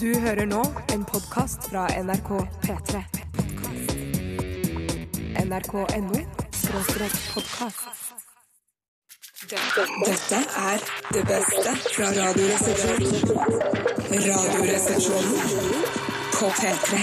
Du hører nå en podkast fra NRK P3. NRK.no skråstrek podkast. Dette er det beste fra Radioresepsjonen. Radioresepsjonen på P3.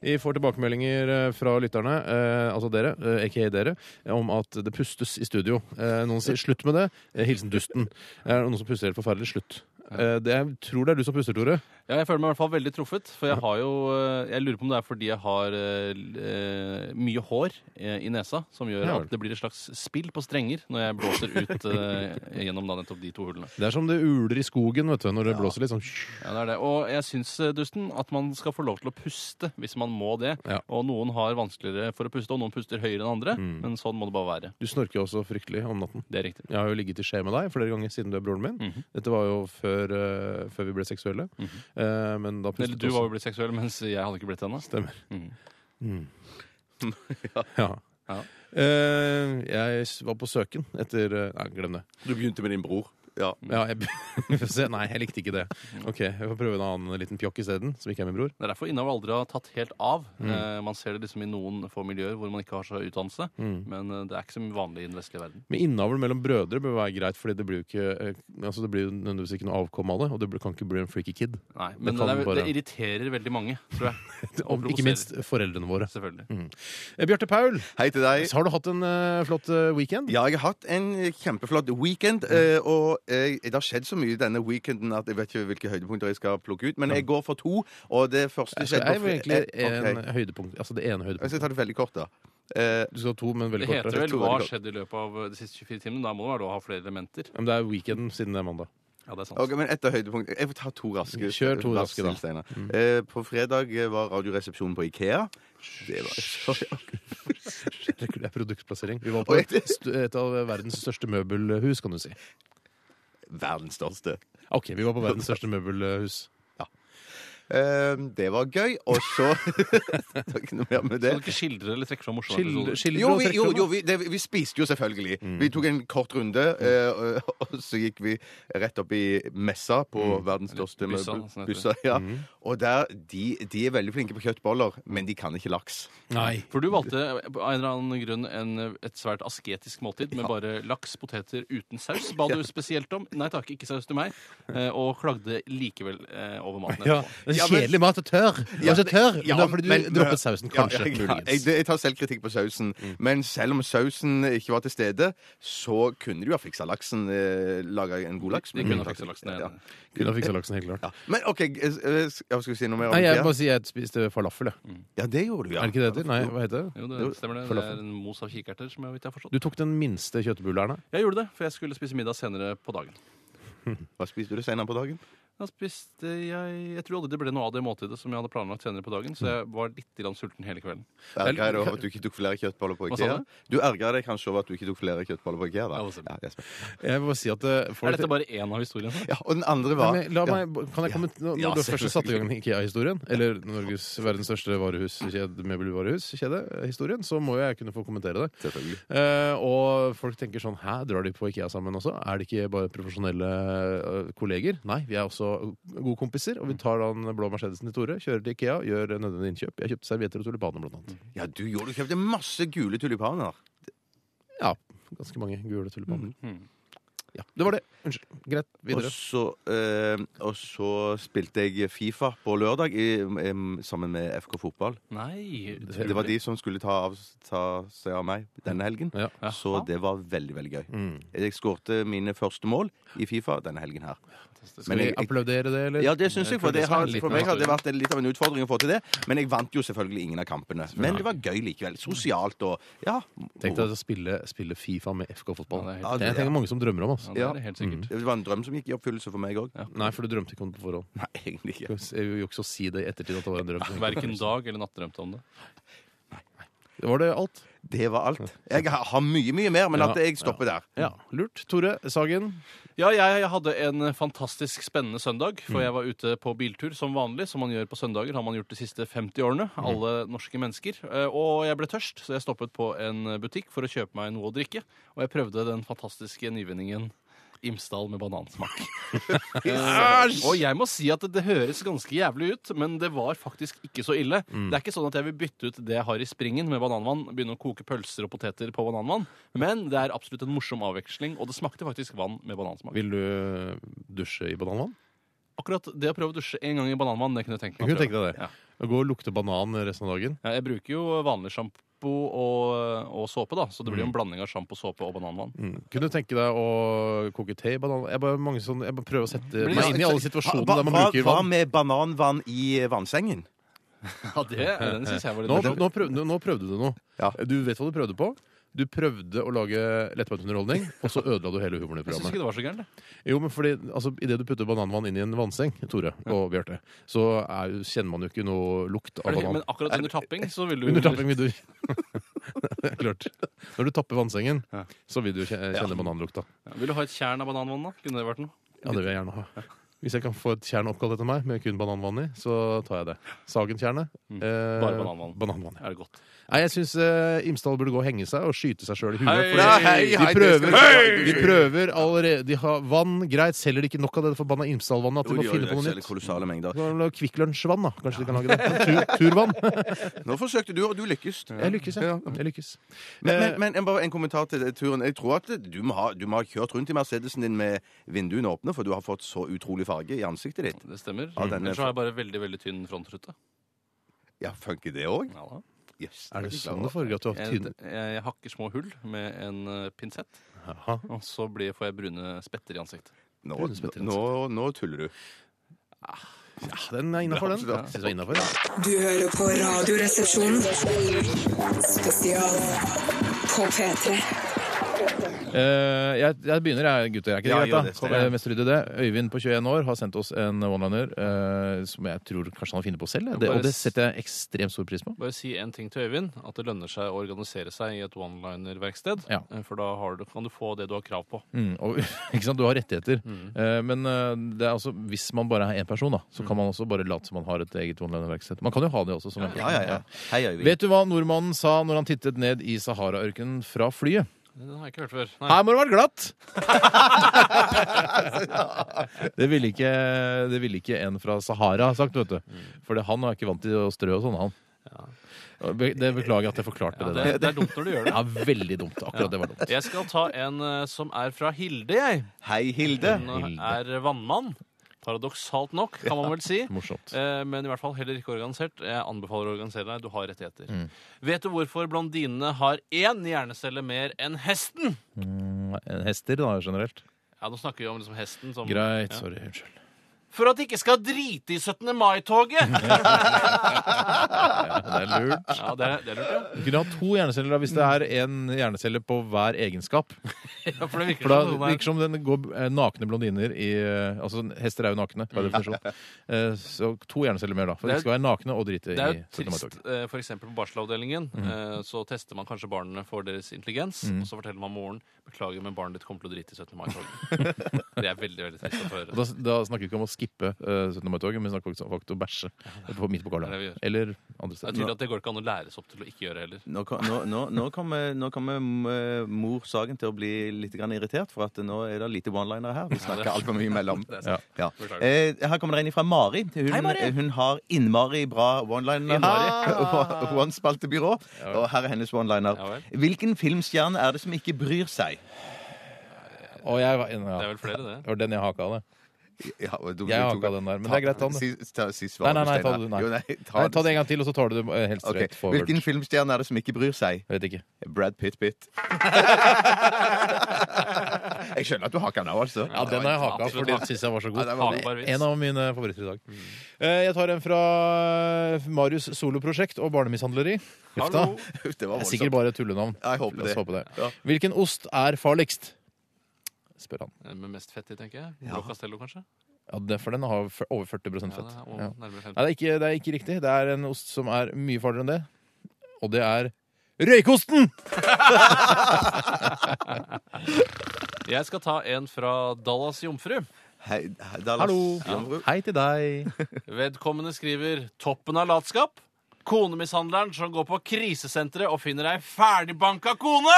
Vi får tilbakemeldinger eh, fra lytterne, eh, altså dere, eh, aka dere, om at det pustes i studio. Eh, noen sier 'slutt med det'. Eh, Hilsen Dusten. Eh, og noen som puster helt forferdelig. Slutt. Eh, det, jeg tror det er du som puster, Tore. Ja, jeg føler meg i hvert fall veldig truffet. For jeg har jo eh, Jeg lurer på om det er fordi jeg har eh, l- eh, mye hår eh, i nesa, som gjør Ja vel. at det blir et slags spill på strenger når jeg blåser ut eh, gjennom da nettopp de to hullene. Det er som det uler i skogen vet du, når det blåser litt sånn. Ja, det er det. Og jeg syns, eh, Dusten, at man skal få lov til å puste hvis man må det. Ja. Og noen har vanskeligere for å puste, og noen puster høyere enn andre. Men sånn må det bare være. Du snorker jo også fryktelig om natten. Det er riktig. Jeg har jo ligget i skje med deg flere ganger siden du er broren min. Mhm. Dette var jo før, eh, før vi ble seksuelle. Eh, men da pustet Eller du var jo blitt seksuell, mens jeg hadde ikke blitt det ennå. Stemmer. Mhm. Mm. Ja. ja. Ja. Eh, jeg s- var på søken etter eh, Nei, glem det. Du begynte med din bror. Ja. Ja, jeg, vi får se. nei, jeg likte ikke det. Ok, Jeg får prøve en annen liten pjokk isteden, som ikke er min bror. Det er derfor innavl aldri har tatt helt av. Eh, man ser det liksom i noen få miljøer hvor man ikke har så høy utdannelse. Men eh, det er ikke så vanlig i den vestlige verden. Men innavl mellom brødre bør være greit, Fordi det blir jo ikke eh, Altså det blir jo nødvendigvis ikke noe avkom av det, og du blir- kan ikke bli en freaky kid. Nei, men det, kan er, bare- det irriterer veldig mange, tror jeg. Og provoserer. ikke minst foreldrene våre. Selvfølgelig. Eh, Bjarte Paul, Hei til deg. har du hatt en eh, flott eh, weekend? Ja, jeg har hatt en kjempeflott weekend, Mm. eh, og eh, det har skjedd så mye denne weekenden at jeg vet ikke hvilke høydepunkter jeg skal plukke ut, men jeg går for to, og det første Det skjedde er jo fre- egentlig en eh, ok. høydepunkt. Altså det ene Jeg høydepunktet. skal ta det veldig kort, da. Eh, Du skal ha to, men Det veldig heter kortere. vel to 'Hva har veldig skjedd i løpet av eh, de siste 24 timene'? Da må det være lov å ha flere elementer. Ja, Men det er weekenden siden det er mandag. Ja, det er sant. ok, men etter høydepunkt Jeg får ta to raske. Kjør to raske, da. Mm. Steinar. Eh, på fredag eh, var Radioresepsjonen på Ikea. Det var Det er produktplassering. Vi var på Oi. et, st- et av verdens største møbelhus, kan du si. verdens største. Ok, vi var på verdens største møbelhus. Eh, det var gøy, og så Det var ikke noe mer med det. Kan du ikke skildre eller trekke fra morsomme Skildre, episoder? skildre Jo, og vi, trekke jo, fram, jo vi, det, vi spiste jo selvfølgelig. Mm. Vi tok en kort runde, eh, og, og så gikk vi rett opp i messa på Mm. verdens største Eller byssa, møbel- sånn som det heter. byssa, ja. Og der, de, de er veldig flinke på kjøttboller, men de kan ikke laks. da. Nei. For du valgte eh, av en eller annen grunn en, eh, et svært asketisk måltid med bare laks, poteter uten saus. Ba du spesielt om? Nei takk, ikke saus til meg. Eh, Og klagde likevel eh, over maten. Ja, etterpå. det er Ja, men- kjedelig mat og tørr. Ja, så tørr. Ja, men det er fordi du men- droppet sausen, Ja, kanskje. jeg, jeg, muligens. Mm. jeg, jeg tar selvkritikk på sausen, men selv om sausen ikke var til stede, så kunne du jo ha fiksa laksen. Eh, Laga en god laks. De kunne ha fiksa laksen, jeg er Ja. enig. Kunne ha fiksa laksen, helt klart. Ja. Men OK, eh, eh, skal vi si noe mer om Nei, jeg det? bare sier jeg spiste falafel, jeg. Ja, det gjorde du, Er ja. det ikke det det heter? Nei, hva heter det? Jo, det Jo, stemmer det. Det falafel. er en mos av kikerter, som jeg vet jeg har forstått. Du tok den minste kjøttbulleren. Jeg gjorde det, for jeg skulle spise middag senere på dagen. Hva spiste du senere på dagen? Da spiste jeg Jeg tror aldri det ble noe av det måltidet som jeg hadde planlagt senere på dagen, så jeg var litt grann sulten hele kvelden. Erga deg over at du ikke tok flere kjøttboller på Hva sa Ikea? Du erga deg kanskje over at du ikke tok flere kjøttboller på Ikea? Da. Ja, det stemmer. Ja, Jesper. Jeg må bare si at eh, folk- Er dette bare én av historiene? ja, og den andre var Nei, men la meg, kan jeg Ja. kommentere Når Ja, du først selvfølgelig. satte i gang IKEA-historien, eller Norges verdens største varehuskjede, møbelvarehuskjede-historien, så må jo jeg kunne få kommentere det. Selvfølgelig. Eh, og folk tenker sånn Hæ, drar de på Ikea sammen også? Er det ikke bare profesjonelle eh, kolleger? Nei, vi er også gode kompiser, og vi tar da den blå Mercedesen til Tore, kjører til Ikea, gjør nødvendige innkjøp. Jeg kjøpte servietter og tulipaner, blant annet. Ja, du gjorde Du kjøpte masse gule tulipaner. Ja, ganske mange gule tulipaner. Mhm. Ja, det var det. Unnskyld. Greit, Mm. Og videre. så, eh, og så spilte jeg Fifa på lørdag i, em, sammen med FK Fotball. Nei. Det var de som skulle ta, av, ta seg av meg denne helgen. Ja. Så det var veldig, veldig gøy. Mm. Jeg skårte mine første mål i Fifa denne helgen her. Skal vi jeg- jeg- applaudere det, eller? Ja, det syns jeg, for, det har, for meg har det vært vært en- litt av en utfordring å få til det. Men jeg vant jo selvfølgelig ingen av kampene. Men det var gøy likevel. Sosialt og ja. sånn, Tenk deg å spille, spille Fifa med FK-fotball. Ja, det er helt- det, er- jeg tenker mange som drømmer om. Altså. Ja, det er det helt sikkert. Det var en drøm som gikk i oppfyllelse for meg òg. Nei, for du drømte ikke om det på forhånd. Nei, egentlig ikke. Jeg vil jo ikke så si det i ettertid at det var en drøm. Verken dag eller natt drømte om det. Var det alt? Det var alt. Jeg har har mye, mye mer, men Ja. at jeg stopper der. Ja, Lurt. Tore Sagen. Ja, jeg hadde en fantastisk spennende søndag, for jeg var ute på biltur som vanlig, som man gjør på søndager, har man gjort de siste 50 årene, alle norske mennesker. Eh, Og jeg ble tørst, så jeg stoppet på en butikk for å kjøpe meg noe å drikke, og jeg prøvde den fantastiske nyvinningen Imsdal med banansmak. Eh, og jeg må si at det, det høres ganske jævlig ut, men det var faktisk ikke så ille. Det er ikke sånn at jeg vil bytte ut det jeg har i springen med bananvann, begynne å koke pølser og poteter på bananvann, men det er absolutt en morsom avveksling, og det smakte faktisk vann med banansmak. Vil du dusje i bananvann? Akkurat det å prøve å dusje en gang i bananvann, det kunne jeg tenkt meg. Jeg å kunne prøve. tenke deg det. Ja. Gå og lukte banan resten av dagen. Ja, jeg bruker jo vanlig sjampo og, og såpe, da, så det blir jo en blanding av sjampo, såpe og bananvann. Mm. Kunne du tenke deg å koke te i banan? Jeg bare, mange sånn, jeg bare prøver å sette Men meg inn i alle situasjoner der man bruker Hva vann. med bananvann i vannsengen? Ja, det, den synes jeg Nå, var litt morsom. nå, prøvde, nå prøvde du noe. Ja. Du vet hva du prøvde på. Du prøvde å lage lettbeint underholdning, og så ødela du hele humoren i Jeg programmet. syns ikke det var så gærent. det. Jo, men fordi, altså, Idet du putter bananvann inn i en vannseng, Tore og Bjarte, så er, jo- kjenner man jo ikke noe lukt av Er det- banan. Men akkurat under tapping så vil du Under tapping vil du Det er Klart. Når du tapper vannsengen, Ja. så vil du kje- kjenne bananlukta. Ja, Vil du ha et tjern av bananvann, da? Kunne det vært noe? Ja, det vil jeg gjerne ha. Hvis jeg kan få et tjern oppkalt etter meg med kun bananvann i, så tar jeg det. Sagentjernet. eh, Bare bananvann. bananvann, ja. Er det godt? Nei, jeg syns eh, Imsdal burde gå og henge seg og skyte seg sjøl i huet. Hei! for Nei, de, hei, prøver, det skal du- de prøver allerede De har vann, greit, selger de ikke nok av det forbanna Imsdal-vannet at de må finne på noe Selger nytt. kolossale mengder. Så lag Kvikk Lunsj-vann, da. Kanskje de kan lage det. Tur, turvann. Nå forsøkte du, og du lykkes. Jeg lykkes, Eh. jeg. jeg lykkes. Men, men, men en- bare en kommentar til det, turen. Jeg tror at du må, ha, du må ha kjørt rundt i Mercedesen din med vinduene åpne, for du har fått så utrolig farge i ansiktet ditt. Det stemmer. Ja, den er- Ellers så har jeg bare veldig veldig tynn frontrute. Ja, funker det òg? Ja, da. Yes, Er det ikke sånn klar det foregår at du har hatt jeg, tynn jeg, jeg hakker små hull med en eh, pinsett, Jaha. og så blir, får jeg brune spetter i ansiktet. Nå, Brunspett, nå, nå tuller du. Ja, den er innafor, den. Jeg synes det er innenfor, ja. Du hører på Radioresepsjonen. Spesial på P3. Eh, jeg, jeg begynner, jeg, gutter. Er ikke det Ja, greit, gjør da? det, Sten. Kom, eh, mest ryddig det. Øyvind på 21 år har sendt oss en one-liner eh, som jeg tror kanskje han har funnet på selv. Det, og det setter jeg ekstremt stor pris på. Bare si en ting til Øyvind, at det lønner seg å organisere seg i et one-liner-verksted. Ja. eh, For da har du, kan du få det du har krav på. Mm, og, ikke sant? Du har rettigheter. Eh, men eh, det er altså, hvis man bare er én person, da, så kan man også bare late som man har et eget one-liner-verksted. Man kan jo ha det også. Som en- Ja, ja, ja. Hei, Øyvind. Vet du hva nordmannen sa når han tittet ned i Sahara-ørkenen fra flyet? Den har jeg ikke hørt før. Nei. Her må det være glatt! det, ville ikke, det ville ikke en fra Sahara ha sagt, vet du. For det- han er ikke vant til å strø og sånn, han. Be- Det beklager jeg at jeg forklarte Ja, det, det, der. det er dumt når du gjør det. Ja, veldig dumt. Akkurat det var dumt. Jeg skal ta en eh, som er fra Hilde, jeg. Hei, Hilde. Hun eh, er vannmann. Paradoksalt nok, kan man vel si. Morsomt. Eh, Men i hvert fall heller ikke organisert. Jeg anbefaler å organisere deg. Du har rettigheter. Mm. Vet du hvorfor blondinene har én hjernecelle mer enn hesten? En Hester, da, generelt. Ja, Nå snakker vi om liksom hesten som Greit. Ja. Sorry. Unnskyld. For at de ikke skal drite i 17. mai-toget! Ja, det er lurt. Ja, det er, det er lurt, Du kunne ha to hjerneceller da, hvis det er én hjernecelle på hver egenskap. ja. ja. For det virker For da som noen er- virker det som den går eh, nakne blondiner i eh, Altså, hester er jo nakne, per definisjon. Eh, Så to hjerneceller mer, da. For Det er- de skal være nakne og drite i Det er jo 17. mai-tog. trist. eh, For eksempel på barselavdelingen Mhm. eh, så tester man kanskje barna for deres intelligens, og så forteller man moren beklager, men barnet ditt kommer til å drite i 17. mai-toget. det er veldig veldig trist å få Og Da, høre. da snakker vi ikke om å skippe eh, 17. mai-toget, men vi snakker faktisk om faktisk om å bæsje på, midt på Karl Det er det Johan. vi gjør. Eller andre Det er steder. tydelig at det går ikke an å læres opp til å ikke gjøre heller. Nå, kom- nå, nå, nå kommer, nå kommer eh, mor Sagen til å bli litt grann irritert, for at nå er det lite one-linere her. Vi snakker altfor mye imellom. Ja. Ja. Beklager. Eh, her kommer det en fra Mari. Hun, eh, Hei, Mari. hun har innmari bra one-liner. og One-spaltebyrå. Og her er hennes one-liner. Ja vel. Hvilken filmstjerne er det som ikke bryr seg? Og jeg var ja. Det er vel flere, det. Det var den jeg haka av. det. Ja, og du- Jeg du har tok- ikke den der, men det er greit, ta den. Si, ta, si Nei, svaret, nei, nei, ta Steinar. det, nei. Jo, nei, ta Nei, det. ta det en gang til, og så tar du det eh, helst Ok. rett forward. Hvilken filmstjerne er det som ikke bryr seg? Jeg vet ikke. Brad Pitt Pitt. Jeg skjønner at du haker den av, altså. Ja, den har jeg haka, absolutt for den haka. syns jeg var så god. Ja, den var Hakbar vits. En av mine favoritter i dag. Eh, Jeg tar en fra eh, Marius soloprosjekt og barnemishandleri. Huff da. Hallo. Det var Det er voldsomt. sikkert bare et tullenavn. Ja, jeg håper La oss det. håpe det. Ja. Hvilken ost er farligst? spør han. Den Eh, Med mest fett i, tenker jeg. Blå Castello, kanskje? Ja, det- For den har f- over 40 Ja, fett. det er, og Ja. nærmere 50. Nei, det er, ikke, det er ikke riktig. Det er en ost som er mye farligere enn det. Og det er røykosten! Jeg skal ta en fra Dallas Jomfru. Hei, hei, Dallas. Hallo! Jomfru. Hei til deg. Vedkommende skriver 'Toppen av latskap'. konemishandleren som går på krisesenteret og finner ei ferdigbanka kone!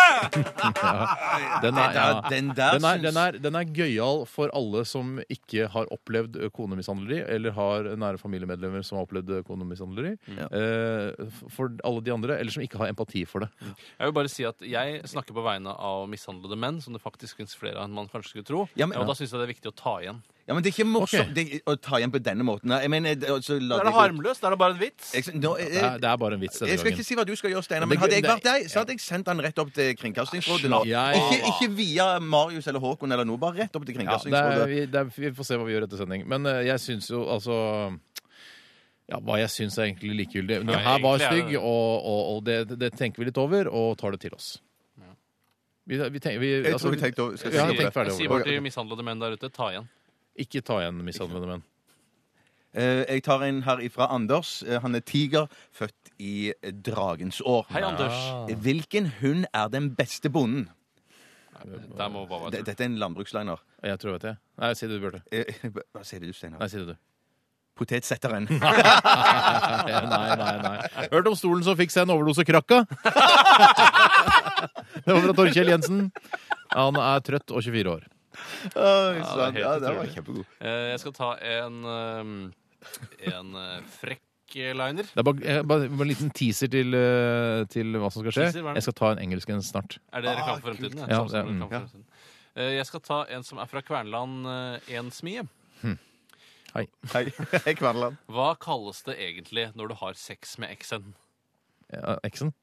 Den er, ja. Den der den er, syns- den er, den er gøyal for alle som ikke har opplevd eh, konemishandleri, eller har nære familiemedlemmer som har opplevd eh, konemishandleri. Eh, f- for alle de andre, eller som ikke har empati for det. Jeg vil bare si at jeg snakker på vegne av mishandlede menn, som det faktisk finnes flere av enn man kanskje skulle tro. Ja, men- og da syns jeg det er viktig å ta igjen. Ja, men det er ikke morsomt det, å ta igjen på denne måten. Nei, Jeg mener, det- altså, la Da er det det gå- harmløst. Da er det bare en vits. Jeg, nå, eh, jeg, Det er, jeg, det er bare en vits denne jeg skal ikke gangen. si hva du skal gjøre, Steinar, Men men hadde jeg det- vært deg, så hadde jeg sendt han rett opp til Kringkastingsrådet. nå. Ja, ja. Ikke, ikke via Marius eller Håkon eller noe, bare rett opp til Ja, det er, Kringkastingsrådet. vi, det er, vi får se hva vi gjør etter sending. Men eh, jeg syns jo altså ja, Hva jeg syns er egentlig likegyldig. Men det her egentlig var er det stygg, det. og, og, og det, det tenker vi litt over, og tar det til oss. Vi, vi tenker, vi, Jeg altså, tror vi tenkte over- skal ja, si det. tenk ferdig Jeg sier over bare det. til mishandlede menn der ute ta igjen. Ikke ta igjen mishandlede menn. Eh, Jeg tar en her ifra Anders. Eh, Han er tiger, født i eh, dragens år. Hei, Anders. Hvilken hund er den beste bonden? Der må bare D- være Dette er en landbruksliner. Jeg tror jeg vet det. Nei, si det du, Bjarte. Eh, Hva sier du, Steinar? Nei, si det du. Potetsetteren. Nei, nei, nei, nei. Hørt om stolen som fikk seg en overdose krakka? Det var fra Torkjell Jensen. Han er trøtt og 24 år. Oi, det er sant. helt Ja, den var utrolig. kjempegod. Eh, Jeg skal ta en eh, En eh, frekk liner. Det er bare, jeg- bare bare en liten teaser til, eh, til hva som skal Teaser, hva skje. er Jeg det? skal ta en engelsk en snart. Er det reklame for fremtiden? Ja, Ja, det er- samtidig mm, reklame for fremtiden. Eh, Jeg skal ta en som er fra Kverneland eh, en smie. Hei, hei Kverneland. Hva kalles det egentlig når du har sex med eksen? Ja, Eksen?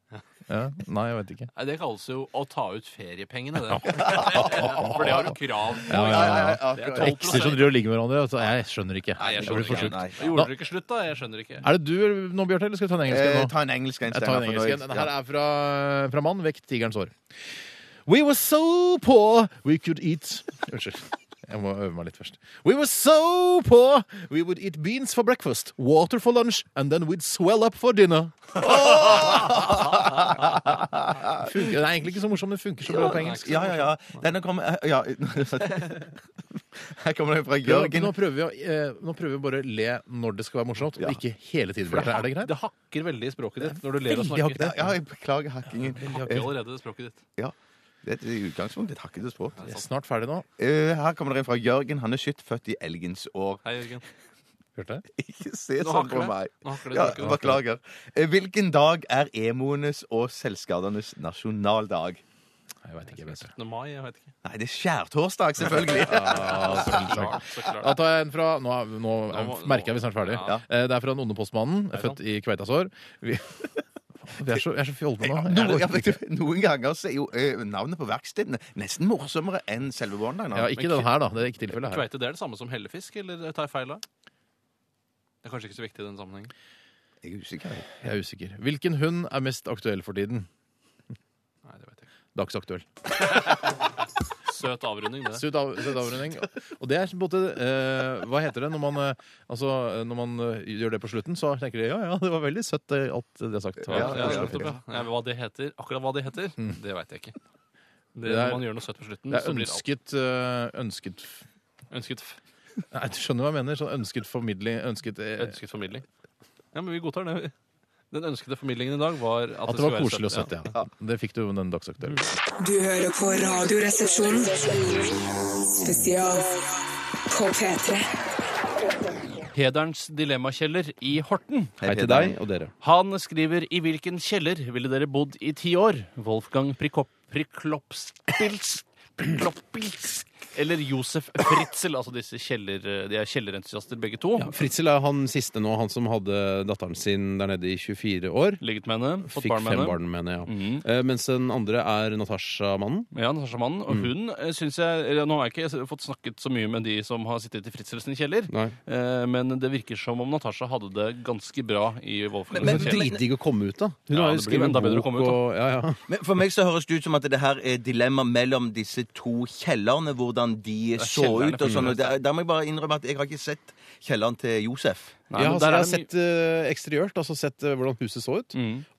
Ja. Nei, jeg vet ikke. Nei, Det kalles jo å ta ut feriepengene, det. For det har du krav på. Ja, ja, ja. Det er 12 Ekser som driver og ligger med hverandre. Altså, jeg skjønner ikke. Nei, jeg Det blir skjønner for ikke. sjukt. Nei. Gjorde dere ikke slutt, da? Jeg skjønner ikke. Er det du nå, Bjarte, eller skal vi ta en engelsk en nå? Eh, Ta en engelsk en, Jeg tar en Steinar. for nå- engelsk en. Den Ja. her er fra, fra mann, vekk tigerens hår. We were so poor we could eat Unnskyld. Jeg må øve meg litt først. We were so poor we would eat beans for breakfast, water for lunch, and then we'd swell up for dinner. Funker, det er egentlig ikke så morsomt, men det funker så bra på engelsk. Ja, ja, ja. Denne kommer eh, ja. Her kommer den fra Ja, men Jørgen. nå, prøver vi å, eh, nå prøver vi bare å le når det skal være morsomt, og ikke hele tiden. Bjarte. Er det greit? Det hakker veldig i språket ditt når du ler og veldig snakker. Ja, jeg beklager hakkingen. Det hakker allerede i språket ditt. Ja. Det er i utgangspunktet et hakkete språk. Jeg er snart ferdig nå. Eh, Her kommer det en fra Jørgen. Han er skytt, født i elgens år. Hei, Jørgen. Hørte jeg? Ikke se Nå sånn hakker på det. meg. Nå hakker det i Ja, språket. beklager. Eh, Hvilken dag er emoenes og selvskadernes nasjonaldag? Jeg vet ikke. Bjarte. 17. mai, jeg vet ikke. Nei, det er skjærtorsdag, selvfølgelig. Ja, så klart. Så klart. Ah, Da tar jeg en fra Nå, er- nå, Nå må- merker jeg vi er snart ferdig. Ja. Eh, Det er fra den onde postmannen, født i kveitasår. Vi, vi er så, jeg er så fjollete nå. Jeg, Noen, ja, orker vet ikke. du, noen ganger så er jo eh, navnet på verkstedene nesten morsommere enn selve ja, one-lineren. ikke den her, da. Det er ikke tilfellet her. Kveite, det er det samme som hellefisk, eller tar jeg feil av? Det er kanskje ikke så viktig i den sammenhengen. Jeg er usikker. Jeg er usikker. Hvilken hund er mest aktuell for tiden? Nei, det vet jeg ikke. Dagsaktuell. Søt avrunding, det. Søt av- søt avrunding. Og det er på en måte eh, Hva heter det når man, eh, altså, når man eh, gjør det på slutten? Så tenker de ja, ja, det var veldig søtt, det, alt det er sagt. Ja, ja, ja, nettopp, ja. Nei, Hva det heter, akkurat hva det heter, det veit jeg ikke. Det, Mm. Det er- når man gjør noe søtt på slutten, Det er så blir alt ønsket, eh, ønsket ønsket, f- Nei, du skjønner hva jeg mener? Sånn ønsket formidling Ønsket eh, ønsket formidling. Ja, men vi godtar det. Den ønskede formidlingen i dag var at, At det var koselig og søtt, ja. Det fikk du med den dagsaktuelle. Du hører på Radioresepsjonen. Spesial på P3. Hederens dilemmakjeller i Horten. Hei til deg og dere. Han skriver i hvilken kjeller ville dere bodd i ti år? Wolfgang Prikop, Priklopspils Priklopils eller Josef Fritzel. Altså disse kjeller, de er kjellerentusiaster begge to. Fritzel er han siste nå, han som hadde datteren sin der nede i 24 år. Ligget med henne, fått Fikk barn med fem henne. Mhm. barn med henne, ja. Eh, mens den andre er Natasha-mannen. Ja, Natasha Mannen. Mm. Og hun eh, syns jeg eller Nå har jeg ikke fått snakket så mye med de som har sittet i Fritzels kjeller, Nei. eh, men det virker som om Natasha hadde det ganske bra i Wolfgang. Men sin kjeller. dritdigg å komme ut, da. Hun Ja, har jo det blir jo skrevet enda bedre å bok komme ut, da. og ja, ja. Men for meg så høres det ut som at det her er dilemma mellom disse to kjellerne, hvordan hvordan de så kjelleren ut. og sånn, og der, der må jeg bare innrømme at jeg har ikke sett kjelleren til Josef. Nei, ja, men altså, der jeg er har det mye- Mm. sett eh, eksteriørt, altså sett eh, hvordan huset så ut.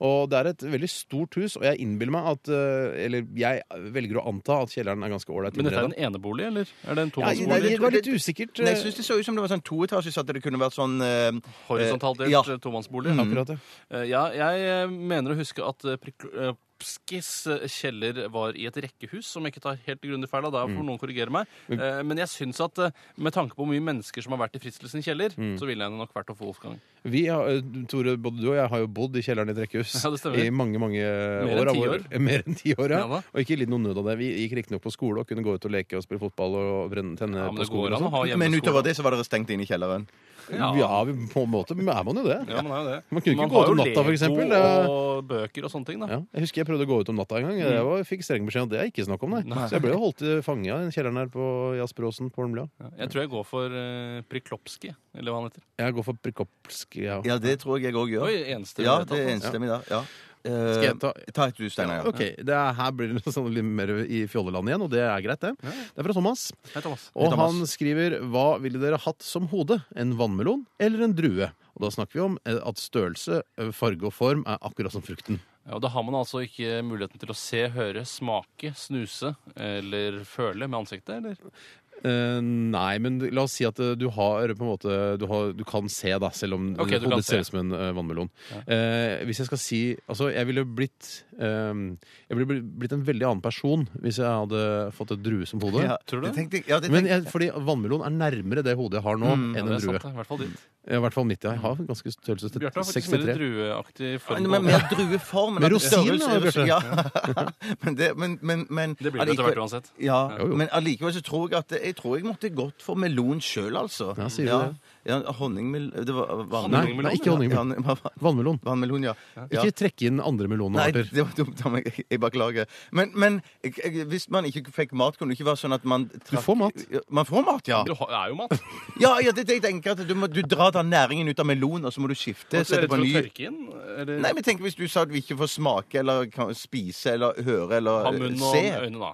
Og det er et veldig stort hus, og jeg innbiller meg at eh, Eller jeg velger å anta at kjelleren er ganske ålreit Men dette er innredet. en enebolig, eller? Er det en Ja, tomannsbolig? det, det var litt usikkert. Men eh, jeg syns det så ut som det var sånn toetasjes, at det kunne vært sånn eh, Horisontalt delt Ja. eh, tomannsbolig? Akkurat, ja. Eh, Ja, jeg eh, mener å huske at eh, Prik- eh, Pskis eh, kjeller var i et rekkehus, som jeg ikke tar helt grundig feil av. Der Mm. får noen korrigere meg. Eh, Men jeg syns at eh, med tanke på hvor mye mennesker som har vært i Fritzl sin kjeller, Mm. så ville jeg nok vært hos Wolfgang. Vi har, eh, Tore, både du og jeg har jo bodd i kjelleren i et rekkehus Ja, det stemmer. i mange mange eh, enn år. av ti vår- år. Mer enn ti år, ja. Ja da. og ikke lidd noen nød av det. Vi gikk riktignok på skole og kunne gå ut og leke og spille fotball og brenne, tenne Ja, men på det går skolen. an å og sånn. ha Men hjemmeskole. utover det så var dere stengt inne i kjelleren. Ja, vi- på en måte er man jo det. Ja, man, er jo det. Man kunne ikke gå har ut om jo natta, for eksempel. Lego Det- Og bøker og sånne ting, da. Ja, jeg husker jeg prøvde å gå ut om natta en gang. Jeg var, fikk streng beskjed om at det er ikke snakk om. Mm. Nei. Nei. Så jeg ble jo holdt i fanget i den kjelleren her på Jazzbråsen på Holmlia. Jeg tror jeg går for uh, Priklopski, eller hva han heter. Jeg går for Prikopsk. Ja. Ja, det tror jeg jeg òg gjør. Oi, enstemmig. Ja, vedtatt, det er altså. enstemmig der. Ja. Eh, Skal jeg ta- ta et du, Steinar. Ja. Ok, det er, Her blir det sånn litt mer i fjolleland igjen, og det er greit, det. Det er fra Thomas. Hei, Thomas. Og Thomas. han skriver Hva ville dere hatt som hode? En vannmelon eller en drue? Og da snakker vi om eh, at størrelse, eh, farge og form er akkurat som frukten. Ja, og Da har man altså ikke muligheten til å se, høre, smake, snuse eller føle med ansiktet, eller? Eh, nei, men la oss si at eh, du har på en måte Du, har, du kan se, da, selv om Ok, du kan hodet se. ser ut som en eh, vannmelon. Eh, hvis jeg skal si Altså, jeg ville blitt eh, Jeg ville bli- blitt en veldig annen person hvis jeg hadde fått et drue som hode. Ja, Tror du det det? tenkte jeg- ja, det Men tenkte- jeg, fordi vannmelon er nærmere det hodet jeg har nå, Mm, enn Ja, det en er sant, drue. det. I hvert fall ditt. I hvert fall 90. Jeg har ganske størrelse til Bjarte har faktisk mer 63. drueaktig form. Men på med hodet. mer drueform. Med at rosin, størrelse- da, Bjarte. Ja. men det, men, men, men Det blir det etter allikevel- hvert uansett. Ja, Jo, jo. men allikevel så tror jeg at jeg tror jeg måtte gått for melon sjøl, altså. Ja, sier du ja. det? Ja, honningmel... Det var var- Nei, nei, ikke honningmelon. Ja, hva- Vannmelon. Vannmelon, ja. ja. Ikke trekke inn andre Nei, melonarter. det var dumt av meg. Jeg beklager. Men, men jeg- jeg- hvis man ikke fikk mat, kunne det ikke være sånn at man trakk får mat. Man får mat, ja. Du har- det er jo mat. Ja, ja det, det, jeg tenker at du, må, du drar den næringen ut av melon, og så må du Så skifte. er Sette det på til å ny. tørke inn, eller Nei, men tenk hvis du sa at vi ikke får smake eller kan spise eller høre eller ha munn og se. øyne, da.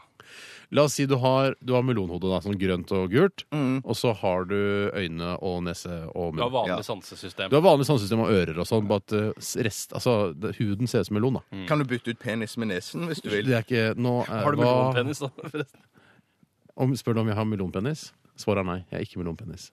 La oss si du har, du har melonhode, da, sånn grønt og gult. Mm. Og så har du øyne og nese og Du har munn. vanlig Ja. sansesystem. Du har vanlig sansesystem og ører og sånn, bare at eh, s- rest, altså, det, huden ser ut som melon. da. Kan du bytte ut penis med nesen hvis du vil? Det er ikke, nå, eh, Mm. Har du hva- melonpenis, da? forresten? Om, spør du om jeg har melonpenis? Svaret er nei. Jeg er ikke melonpenis.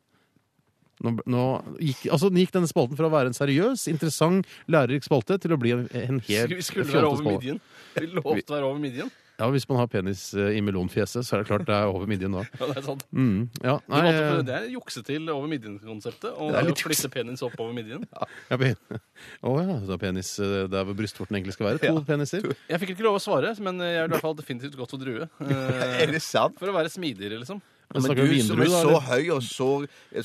Nå, nå gikk, altså, nå gikk denne spalten fra å være en seriøs, interessant, lærerik spalte til å bli en, en helt Vi skulle være over fjoltespalte. midjen. Vi lovte å være over midjen. Ja, Hvis man har penis eh, i melonfjeset, så er det klart det er over midjen da. Ja, det er sant. Mm, ja, Du nei, valgte eh, for- Det er jukse til over midjen-konseptet. Og Det er det litt å flytte penis opp over midjen. eh, Ja, pen- Å ja, så det er penis eh, der hvor brystvorten egentlig skal være. To peniser. Jeg fikk ikke lov å svare, men jeg vil i hvert fall definitivt gått for drue. Eh, Er det sant? For å være smidigere, liksom. Men Men snakker du vi som vindrue, er da? så eller? høy og så,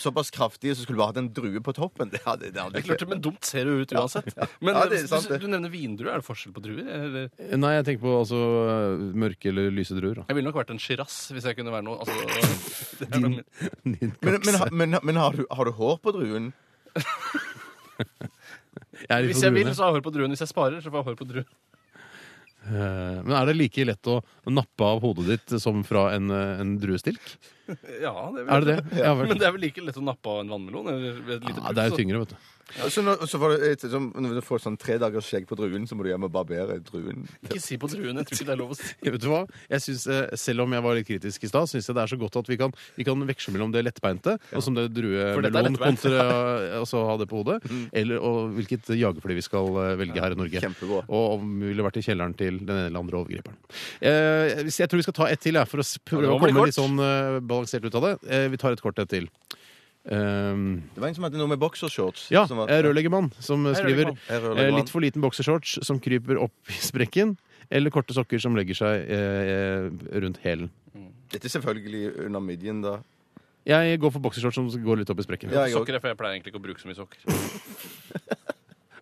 såpass kraftig, så skulle du bare hatt en drue på toppen. Det hadde, det hadde Det er klart, men dumt ser det ut uansett. Men eh, Ja, det er sant, du, det. du nevner vindruer. Er det forskjell på druer? Eller? Nei, jeg tenker på altså, eh, mørke eller lyse druer. Da. Jeg ville nok vært en sjiras hvis jeg kunne være noe. Altså, det er noe- Din Men, kakse. men, ha- men, men har, du, har du hår på druen? Jeg er litt hvis for jeg vil, druene. så har jeg hår på druen. Hvis jeg sparer, så får jeg hår på druen. Eh, Men er det like lett å nappe av hodet ditt som fra en, eh, en druestilk? Ja, det vil Er det jeg. det? Ja, vel. Men det er vel like lett å nappe av en vannmelon? Eller et lite Ja, puff, det er så- jo tyngre, vet du. Og Så når, og så får du, et, sånn- når du får sånn tre dagers skjegg på druen, så må du hjem og barbere druen. Ikke si på druen. Jeg tror ikke det er lov å si. Ja, Vet du hva? Jeg synes, eh, selv om jeg var litt kritisk i stad, syns jeg det er så godt at vi kan, vi kan veksle mellom det lettbeinte, og som det For dette druemelon er lettbeint. kontra eh, altså, ha det på hodet, eller, og hvilket jagerfly vi skal eh, velge her i Norge. Kjempebra. Og om vi ville vært i kjelleren til den ene eller andre overgriperen. Eh, så jeg tror vi skal ta ett til, jeg, for å s- prøve det å må bli komme kort. litt sånn eh, balansert ut av det. Eh, vi tar et kort et til. Um, Det var en som hadde noe med boksershorts. ja, som var- eh, rørleggermann som eh, skriver rørleggermann. Hei, eh, rørleggermann. litt for liten boksershorts som kryper opp i sprekken, eller korte sokker som legger seg eh, eh, rundt hælen. Dette er selvfølgelig under midjen, da. Jeg går for boksershorts som går litt opp i sprekken. Ja, jeg Sokker er for jeg pleier egentlig ikke å bruke så mye sokker.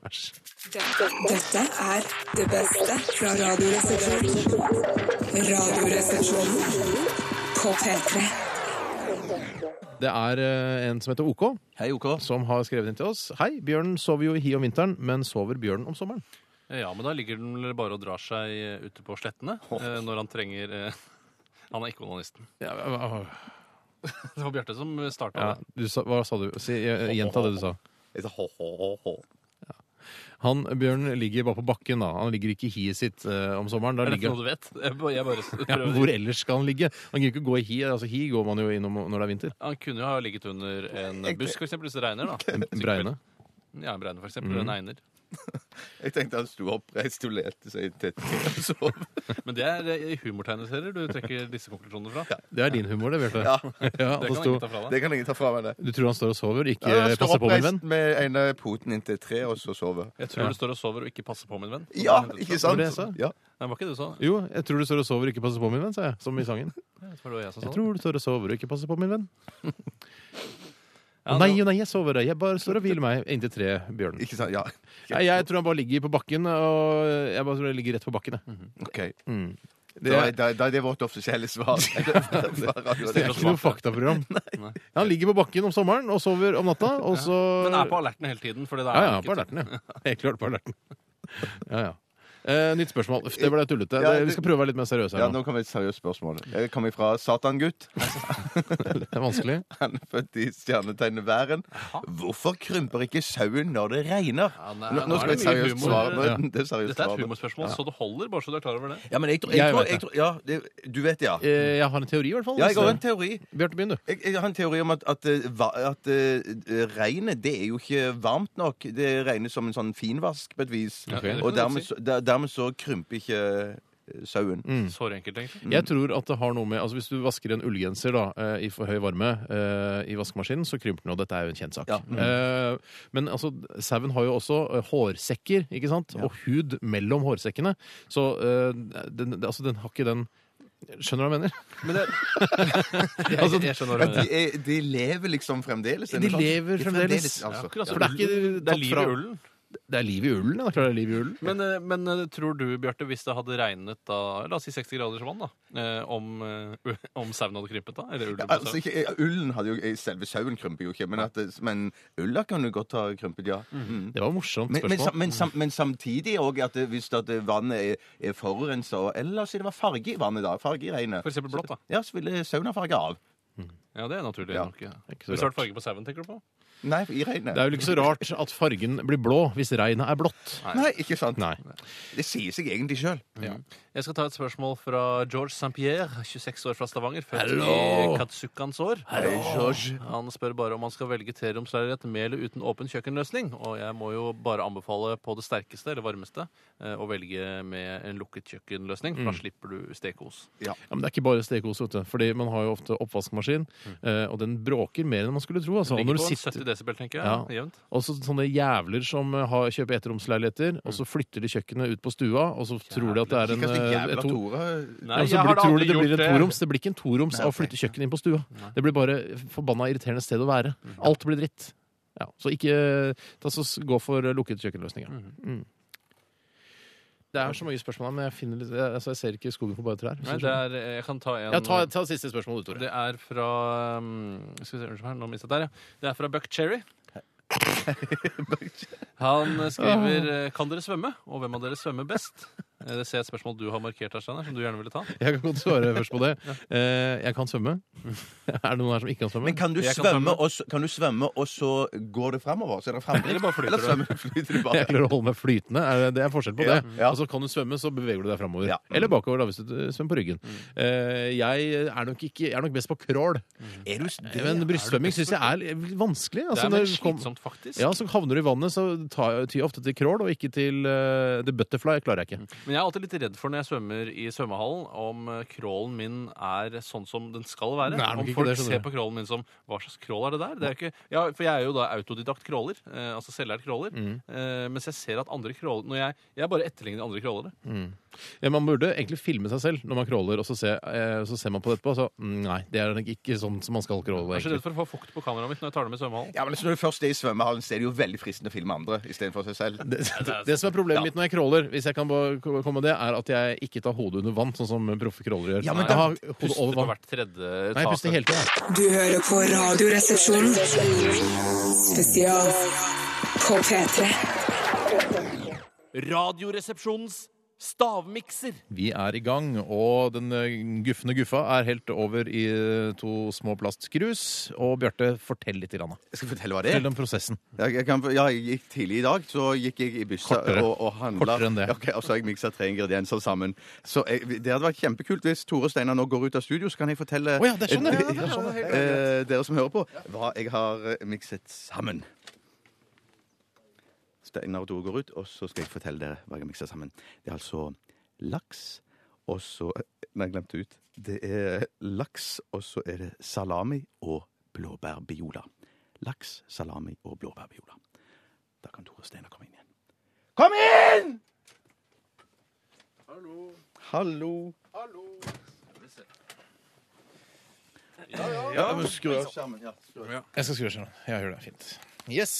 Æsj. Dette er det beste fra Radioresepsjonen. Radioresepsjonen på P3. Det er eh, en som heter OK, Hei, OK. som har skrevet inn til oss. Hei, bjørnen sover jo i hi om vinteren, men sover bjørnen om sommeren? Ja, men da ligger den vel bare og drar seg eh, ute på slettene eh, når han trenger eh, Han er ikke onanisten. Ja, hva- hva- Det var Bjarte som starta ja, det. du sa, hva sa du? Si, eh, gjenta det du sa. Jeg sa ho-ho-ho. Han, Bjørn ligger bare på bakken. da Han ligger ikke i hiet sitt eh, om sommeren. Da Er dette ligger noe du vet? Jeg bare, jeg bare ja, prøver. men Hvor ellers skal han ligge? Han gir ikke å gå i hi. Altså, hi går man jo innom når det er vinter. Han kunne jo ha ligget under en busk, for eksempel, hvis det regner. da. Bregne. Ja, en bregne, for eksempel. eller En einer. Jeg tenkte han sto oppreist og lette seg til og sov. Men det er eh, i humortegneserier du trekker disse konklusjonene fra. Det er din humor, det, Bjarte. Ja. Ja, Det at han kan jeg sto- ikke ta fra deg. Det kan ingen ta fra meg, det. du tror han står og sover, ikke Ja, han står passer eh, på, min venn? oppreist med ene poten inntil tre, og så sover. Jeg tror du står og sover og ikke passer på, min venn. Ja, Nei, ikke Var sant? det jeg sa? Ja. var ikke det du sa? Jo, jeg tror du står og sover, ikke passer på, min venn, sa jeg. Som i sangen. Jeg tror det var jeg som sa Jeg det. tror du står og sover, ikke passer på, min venn. Ja, nei, det var- nei, jeg sover, jeg bare står og hviler meg inntil tre, Bjørn. Ikke sant? Ja. Nei, jeg tror han bare ligger på bakken, og jeg bare tror jeg ligger rett på bakken, jeg. Mm. OK. Det Da, er, da, da er det vårt offisielle svar. det er ikke noe faktaprogram. Nei. Ja, han ligger på bakken om sommeren og sover om natta, og så Men er på alerten hele tiden. Fordi det er Ja, ja, ikke- på alerten, ja. Helt klart på alerten. Ja, ja. Eh, nytt spørsmål. Uff, Det ble tullete. Ja, Det- Vi det- skal prøve å være litt mer seriøse Ja, her nå. nå kommer et seriøst spørsmål. Jeg kommer fra Satangutt. Det er vanskelig. Han er født i stjernetegnet Væren. Hvorfor krymper ikke sauen når det regner? Ja, nei, Nå, nå nå er skal det mye jeg seriøst humor. svare. Ja. Det er seriøst Dette er et svar. humorspørsmål, så det holder, bare så du er klar over det. Ja, men jeg tror, Jeg jeg tror, vet jeg tror Ja, det, du vet det, ja. Eh, jeg har en teori, i hvert fall. Ja, jeg har en teori. Bjarte, begynn, du. Jeg, jeg har en teori om at, at, eh, va- at eh, regnet det er jo ikke varmt nok. Det regnes som en sånn finvask på et vis. Ja, det kan Og du dermed, si. Mm. så- der, dermed så krymper ikke eh, sauen. Såre enkelt, egentlig. Jeg tror at det har noe med Altså Hvis du vasker en ullgenser da eh, i for høy varme eh, i vaskemaskinen, så krymper den, og dette er jo en kjent sak. Ja. Eh, Men altså, sauen har jo også eh, hårsekker, ikke sant? Og hud mellom hårsekkene. Så eh, den, altså, den har ikke den Skjønner du hva jeg mener? Jeg, Altså, jeg skjønner hva Ja, du de, mener. er, de lever liksom fremdeles? er De det sant? lever fremdeles. altså. Akkurat som For det er ikke ullen. det tatt er liv fra- i ullen. Det er liv i ullen, ja. Det er klart det er liv i ullen. Men, eh, men eh, tror du, Bjarte, hvis det hadde regnet da, la oss si 60 graders vann, da, eh, om, eh, om sauen hadde krympet da? Eller ullen på Altså, sauen? ikke, eh, ullen hadde jo eh, Selve sauen krymper jo ikke, men, at, det- men ulla kan jo godt ha krympet, ja. Mm. Det var et morsomt Men, men, spørsmål. sam, men, sam, Mm. men samtidig òg at det- hvis at det vannet er, er forurensa, og eller si det var farge i vannet, da. Farge i regnet. For eksempel blått, da. Ja, så ville sauen ha farge av. Ja, det er naturlig Ja. nok. Ja. Ikke så Hvis du har rart. vært farge på sauen, tenker du på? Nei, i regnet. Det er vel ikke så rart at fargen blir blå hvis regnet er blått. Nei, ikke sant. Nei. Det sier seg egentlig Mm. sjøl. Jeg skal ta et spørmål fra George St-Pierre, 26 år fra Stavanger, født Hallo! i Katsukans år. Han spør bare om han skal velge treromsleilighet med eller uten åpen kjøkkenløsning. Og jeg må jo bare anbefale på det sterkeste, eller varmeste, eh, å velge med en lukket kjøkkenløsning, for da slipper du stekos. Ja, men det er ikke bare stekos, vet du. Fordi man har jo ofte oppvaskmaskin, eh, og den bråker mer enn man skulle tro. Altså. Og Ligger når du på sitter 70 desibel, tenker jeg. Ja. Jevnt. og så sånne jævler som eh, har, kjøper etteromsleiligheter, og så flytter de kjøkkenet ut på stua, og så tror de at det er en eh, et to... Ja, Nei, så jeg har blir, tror da de aldri det blir en gjort det. toroms. Det blir ikke en toroms Nei, av å ok. flytte kjøkkenet inn på stua. Det blir bare forbanna irriterende sted å være. Alt blir dritt. Ja, så ikke eh, ta så s- gå for eh, lukkede kjøkkenløsninger. Mm. Det er så mange spørsmål her, men jeg, finner, litt- jeg- altså, jeg ser ikke skogen for bare trær. Nei, det er, eh, jeg kan ta en ja, ta, ta siste spørsmål, du, Tore. Det er fra um, Skal vi se, unnskyld meg, nå mistet jeg der, ja. Det er fra Buck Cherry. Han eh, skriver Ah. eh, Kan dere svømme, og hvem av dere svømmer best? Eh, Det ser jeg et spørsmål du har markert her, Steinar, som du gjerne ville ta. Jeg kan godt svare først på det. Eh, jeg kan svømme. er det noen her som ikke kan svømme? Men kan du, Jeg kan svømme, svømme. og så, kan du svømme, og så går det framover? Så er det fremdrift? Eller bare flyter Eller du? svømmer, flyter du bare? jeg klarer å holde meg flytende. Er det, det er forskjell på Ja, det. ja. Altså, kan du svømme, så beveger du deg framover. Ja. Mm. Eller bakover, da, hvis du eh, svømmer på ryggen. Eh, jeg, er nok ikke, jeg er nok best på crawl. Er du s- det, Men brystsvømming syns jeg er litt vanskelig. Det Altså, er mer når du kom- slitsomt, faktisk. ja, så havner du i vannet, så tar jeg- tyr jeg ofte til crawl og ikke til eh, the butterfly. klarer jeg Mm. ikke. Men jeg er alltid litt redd for når jeg svømmer i svømmehallen, om eh, crawlen min er sånn som den skal være. Nei, det er nok om ikke folk det, skjønner ser du. på crawlen min som Hva slags crawl er det der? Det er jo ikke, ja, for jeg er jo da autodidakt crawler. Eh, altså selvlært crawler. Mm. Eh, mens jeg ser at andre crawler Når jeg, jeg bare etterligner andre crawlere. Ja, man burde egentlig filme seg selv når man crawler, og så, se, eh, så ser man på det etterpå. Så mm, nei, det er nok ikke sånn som man skal crawle. Jeg er så egentlig. redd for å få fukt på kameraet mitt når jeg tar det med i svømmehallen. Ja, men altså, Når du først er i svømmehallen, så er det jo veldig fristende å filme andre istedenfor seg selv. Det, det, det som er problemet mitt når jeg crawler, hvis jeg kan bare ko- komme med det, er at jeg ikke tar hodet under vann, sånn som proffe crawlere gjør. Ja, men jeg da- har hodet Puster over på vann. hvert tredje Nei, jeg puster hele tiden. Du hører på Radioresepsjonen. Spesial på P3. Radioresepsjonens Stavmikser. Vi er i gang, og den eh, gufne guffa er helt over i eh, to små plastskrus. Og Bjarte, fortell litt. Grann, da. Jeg skal fortelle hva det er. Fortell om prosessen. Jeg, jeg kan, ja, jeg gikk tidlig i dag, så gikk jeg i byssa Kortere. og, og handla. Kortere enn det. Ok, og så har jeg miksa tre ingredienser sammen. Så jeg, Det hadde vært kjempekult hvis Tore Steinar nå går ut av studio, så kan jeg fortelle Å ja, det er sånn, ja. eh, Ja, det er sånn, ja. eh, dere som hører på, hva jeg har eh, mikset sammen. Steinar og Tore går ut, og så skal jeg fortelle dere hva jeg har miksa sammen. Det er altså laks, og så eh, Nei, jeg glemte ut. Det er laks, og så er det salami og blåbærbiola. Laks, salami og blåbærbiola. Da kan Tore Steinar komme inn igjen. Kom inn! Hallo. Hallo. Hallo. Ja, ja. Jeg skal skru av skjermen. Ja, gjør det. Fint. Yes.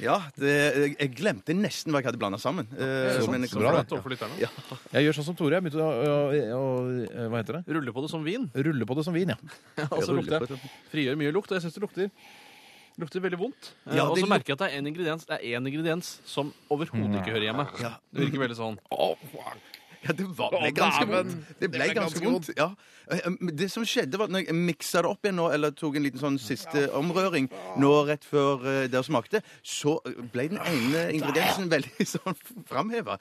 ja det, jeg glemte nesten hva jeg hadde blanda sammen. Eh, sånn. men jeg Så kom bra, fra- da. Overfor lytterne. Ja. Jeg gjør sånn som Tore. Jeg begynte å, å, å, å Hva heter det? Ruller på det som vin. Rulle på det som vin, ja. Og så ruller lukter på jeg. Frigjør mye lukt. Og jeg syns det lukter lukter veldig vondt. Eh, Ja, og det så luk- merker jeg at det er en ingrediens, det er en ingrediens som overhodet ikke hører hjemme. Ja. Det virker veldig sånn. Ja, det var, ble Å, ganske dæven. vondt. Det ble ganske vondt, ja. Eh, men Det som skjedde, var at når jeg miksa det opp igjen nå, eller tok en liten sånn siste omrøring nå rett før eh, dere smakte, så eh, ble den ene ingrediensen veldig sånn framheva.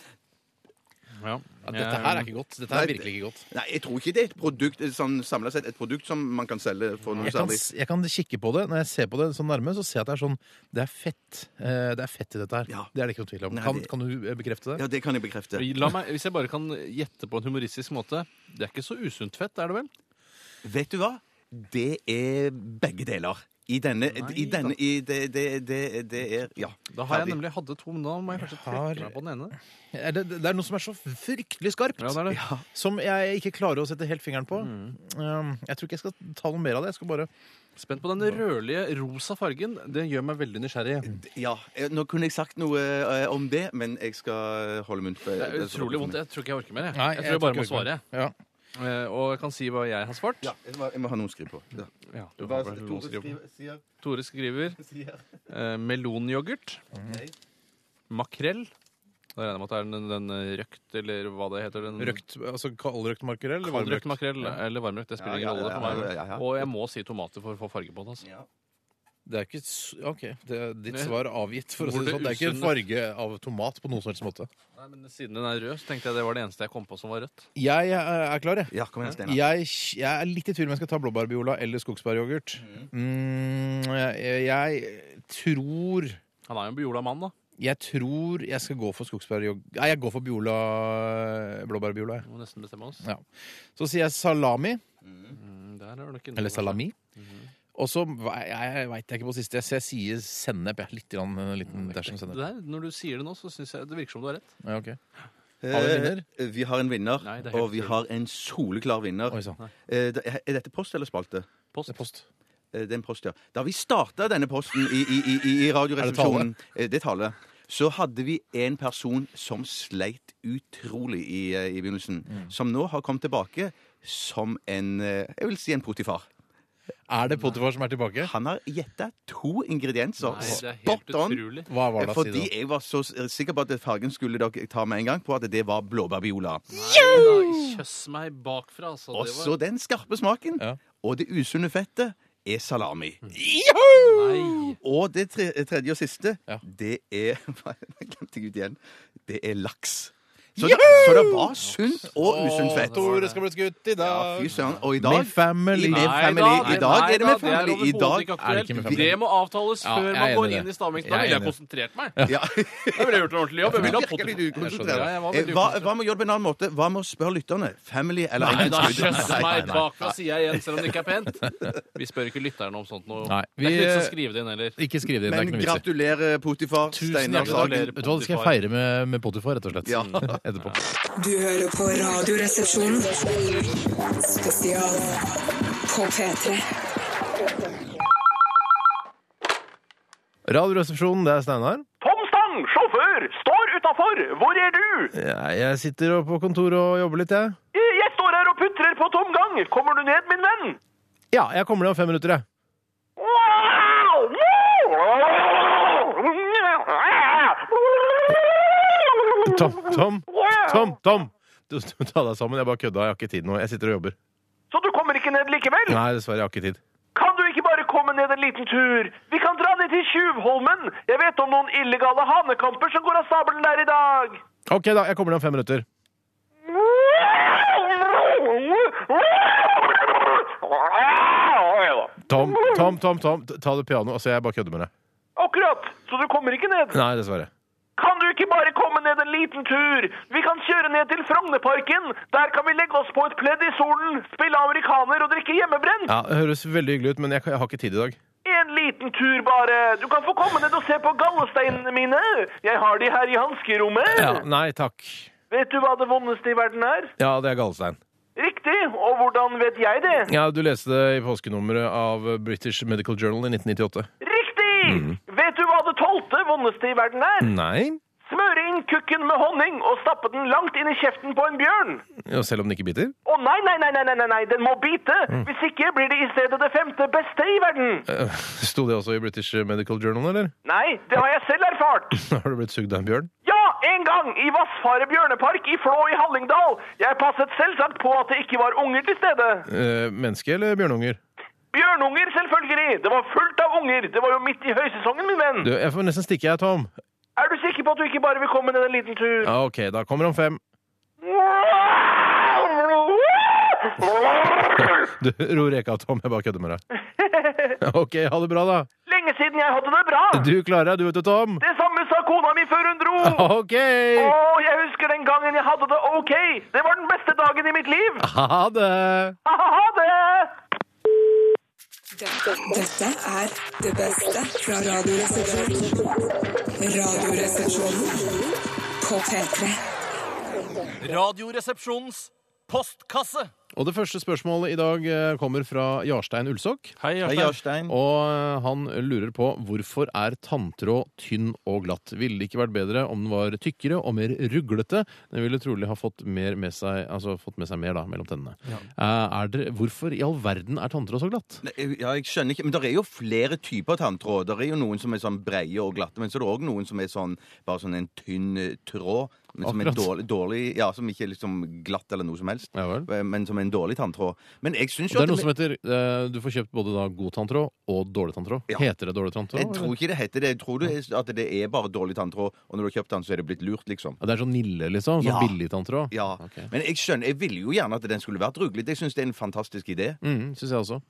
Ja. eh, Dette her er ikke godt. Dette Nei, er det- virkelig ikke godt. Nei, jeg tror ikke det er et produkt eh, sånn samla sett et produkt som man kan selge for noe Jeg kan, særlig. s- jeg kan kikke på det. Når jeg ser på det sånn nærme, så ser jeg at det er sånn Det er fett. Eh, Det er fett i dette her. Ja. Det er det ikke noe tvil om. Nei, Kan, det- kan du eh, bekrefte det? Ja, det kan jeg bekrefte. La meg, hvis jeg bare kan gjette på en humoristisk måte Det er ikke så usunt fett, er det vel? Vet du hva? Det er begge deler. I denne, i denne i det, det, det, det er Ja. Da har jeg ferdig. nemlig hadde to, men da må jeg kanskje har- trekke meg på den ene. Er det, det er noe som er så fryktelig skarpt. Ja, det er det. Som jeg ikke klarer å sette helt fingeren på. Um, Jeg tror ikke jeg skal ta noe mer av det. Jeg skal bare Spent på den rødlige, rosa fargen. Det gjør meg veldig nysgjerrig. Ja, eh, Nå kunne jeg sagt noe eh, om det, men jeg skal holde munn. for- Det er så godt utrolig for vondt. meg. Jeg tror ikke jeg orker mer. Jeg, jeg tror jeg bare må svare. Ja. Eh, Og jeg kan si hva jeg har svart. Ja, jeg må, jeg må ha noen skriv på. Ja. Ja, du har Hva vel noe å Tore skrive på. skriver- sier, Tore skriver sier. Mhm. eh, melonyoghurt. Ok. Makrell. Da regner jeg med at det er den, den eh, røkt, eller hva det heter. Den, Røkt, altså kaldrøkt makrell? eller Kaldrøkt varmrøkt? makrell Ja. eller varmrøkt. Det spiller Ja, ja, ingen rolle ja, for meg. ja, ja, ja. Og jeg må si tomater for å få farge på det. Altså. Ja. Det er ikke s- OK, det er ditt Nei. svar avgitt. For å si det Hvor det sånn. Det er ikke en usunne- farge av tomat på noen som helst måte. Nei, men Siden den er rød, så tenkte jeg det var det eneste jeg kom på som var rødt. Jeg eh, er klar, jeg. ja, kom igjen, Steinar. Jeg, jeg er litt i tvil om jeg skal ta blåbærbiola eller skogsbæryoghurt. Mm, jeg, jeg tror Han er jo en biola mann, da. Jeg tror jeg skal gå for skogsbæryoghurt Nei, jeg går for biola, blåbærbiola. jeg. Vi må nesten bestemme oss. Ja. Så sier jeg salami. Mm, Der er det nok en- Eller salami. Og så vei- jeg veit jeg ikke på siste, så jeg sier sennep. Jeg. Litt grann, en liten dash om Det sennep. der, når du sier det nå, så syns jeg det virker som du har rett. Ja, ok. Eh, Har vi en vinner? Vi har en vinner, Nei, det er helt og vi har en soleklar vinner. Oi sann. Eh, da- Er dette post eller spalte? Post. Det er post. Eh, Det er en post, ja. Da vi starta denne posten i, i, i, i Radioresepsjonen eh, Det taler. Så hadde vi en person som sleit utrolig i, eh, i begynnelsen. Mm. Som nå har kommet tilbake som en eh, Jeg vil si en potifar. Er det Potifar som er tilbake? Han har gjetta to ingredienser. Nei, det er helt Spot on! utrolig. Hva var det å si Fordi da? jeg var så s- sikker på at fargen skulle dere ta med en gang, på at det var blåbærbiola. Nei, Kjøss meg bakfra, altså. Og Det så var... den skarpe smaken Ja. Mm. og det usunne fettet er salami. Nei. Og det tre, tredje og siste, Ja. det er Hva jeg glemte jeg ut igjen? Det er laks. Så det, så det var sunt og usunt fett. Tore skal bli skutt i dag. Ja, fy søren. Og i Med dag family. I med Nei family. da, nei I dag nei er det da, med er family. I overhodet dag ikke er det ikke med aktuelt. family. Det må avtales Ja, jeg er før enig man i går det. inn i stavmiksen. Jeg Da er enig i ville jeg det. konsentrert meg. Da ja. ville jeg gjort en ordentlig jobb. Jeg ville Du ha virker litt fått... ukonsentrert. Ja, jeg var Eh, veldig Hva, ukonsentrert. hva med å gjøre det på en annen måte? Hva med å spørre lytterne? Family eller Nei, da Nei, kjøss nei, meg nei. bakfra, sier jeg igjen, selv om det ikke er pent. Vi spør ikke lytterne om sånt noe. Nei, Det er ikke vi- vits å skrive det inn heller. Ikke skriv det inn. Det er ikke Men noe vits i. gratulerer, Potifar. Tusen hjertelig takk. Steinar Sagen. Gratulerer, Vet du hva, det skal jeg Potifar. feire med, med Potifar, rett og slett. Mm, Ja. Etterpå. Du hører på Radioresepsjonen. Spesial på P3. Radioresepsjonen, det er Steinar. Tom Stang, sjåfør, står utafor. Hvor er du? Jeg, jeg sitter oppe på kontoret og jobber litt, jeg. Eh, Jeg står her og putrer på tomgang. Kommer du ned, min venn? Ja, jeg kommer ned om fem minutter, jeg. Tom, Tom, Tom, Tom! Du, du, ta deg sammen. Jeg bare kødda. Jeg har ikke tid nå. Jeg sitter og jobber. Så du kommer ikke ned likevel? Nei, dessverre. Jeg har ikke tid. Kan du ikke bare komme ned en liten tur? Vi kan dra ned til Tjuvholmen. Jeg vet om noen illegale hanekamper som går av stabelen der i dag. OK, da. Jeg kommer ned om fem minutter. Tom, Tom, Tom, Tom, ta det piano. Altså, jeg bare kødder med deg. Akkurat, så du kommer ikke ned. Nei, dessverre. Kan du ikke bare komme ned en liten tur? Vi kan kjøre ned til Frognerparken. Der kan vi legge oss på et pledd i solen, spille amerikaner og drikke hjemmebrent. Ja, Det høres veldig hyggelig ut, men jeg, jeg har ikke tid i dag. En liten tur bare. Du kan få komme ned og se på gallesteinene mine. Jeg har de her i hanskerommet. Ja, Nei takk. Vet du hva det vondeste i verden er? Ja, det er gallestein. Riktig, og hvordan vet jeg det? Ja, Du leste det i påskenummeret av British Medical Journal i 1998. Riktig! Mm. Vet du hva det tolvte vondeste i verden er? Nei. Smøre inn kukken med honning og stappe den langt inn i kjeften på en bjørn. Ja, selv om den ikke biter? Å nei, nei, nei, nei, nei, nei, nei, den må bite! Hvis ikke blir det i stedet det femte beste i verden. Mm. Eh, Sto det også i British Medical Journal, eller? Nei, det har jeg selv erfart. Har du blitt sugd av en bjørn? Ja, en gang! I Vassfare bjørnepark i Flå i Hallingdal. Jeg passet selvsagt på at det ikke var unger til stede. Eh, menneske eller bjørnunger? Bjørnunger, selvfølgelig! Det var fullt av unger! Det var jo midt i høysesongen, min venn. Du, jeg får nesten stikke, jeg, Tom. Er du sikker på at du ikke bare vil komme ned en liten tur? Ja, OK, da kommer om fem. Du, ro reka, Tom. Jeg bare kødder med deg. OK, ha det bra, da. Lenge siden jeg hadde det bra! Du klarer deg, du vet du, Tom. Det samme sa kona mi før hun dro! OK! Å, jeg husker den gangen jeg hadde det ok! Det var den beste dagen i mitt liv! Ha det! Ha det! Dette, dette er det beste fra Radioresepsjonen. Radioresepsjonen på P3. Radioresepsjonens postkasse. Og det første spørsmålet i dag eh, kommer fra Jarstein Ulsok. Hei, Hei, Jarstein. Jarstein. Og eh, han lurer på hvorfor er tanntråd tynn og glatt? Ville det ikke vært bedre om den var tykkere og mer ruglete? Den ville trolig ha fått, mer med, seg, altså, fått med seg mer da, mellom tennene. Eh, Er det, hvorfor i all verden er tanntråd så glatt? Nei, Eh, Ja, jeg skjønner ikke, men det er jo flere typer tanntråd. Det er jo noen som er sånn breie og glatte, men så er det òg noen som er sånn bare sånn en tynn eh, tråd. Men som er Akkurat. dårlig, dårlig Ja, som ikke er liksom glatt eller noe som helst. eh, Ja vel. Men som er en dårlig tanntråd. Men jeg syns Og det jo at er noe som heter eh, Du får kjøpt både da god tanntråd og dårlig tanntråd. Ja. Heter det dårlig tanntråd? Jeg tror eller? ikke det heter det. Jeg tror det er, at det er bare dårlig tanntråd, og når du har kjøpt den, så er det blitt lurt, liksom. Ja, det er sånn Nille, liksom? Sånn Ja. billig tanntråd? Ja. Ok. Men jeg skjønner, jeg ville jo gjerne at den skulle vært ruglete. Jeg syns det er en fantastisk idé. Mm, Syns jeg også.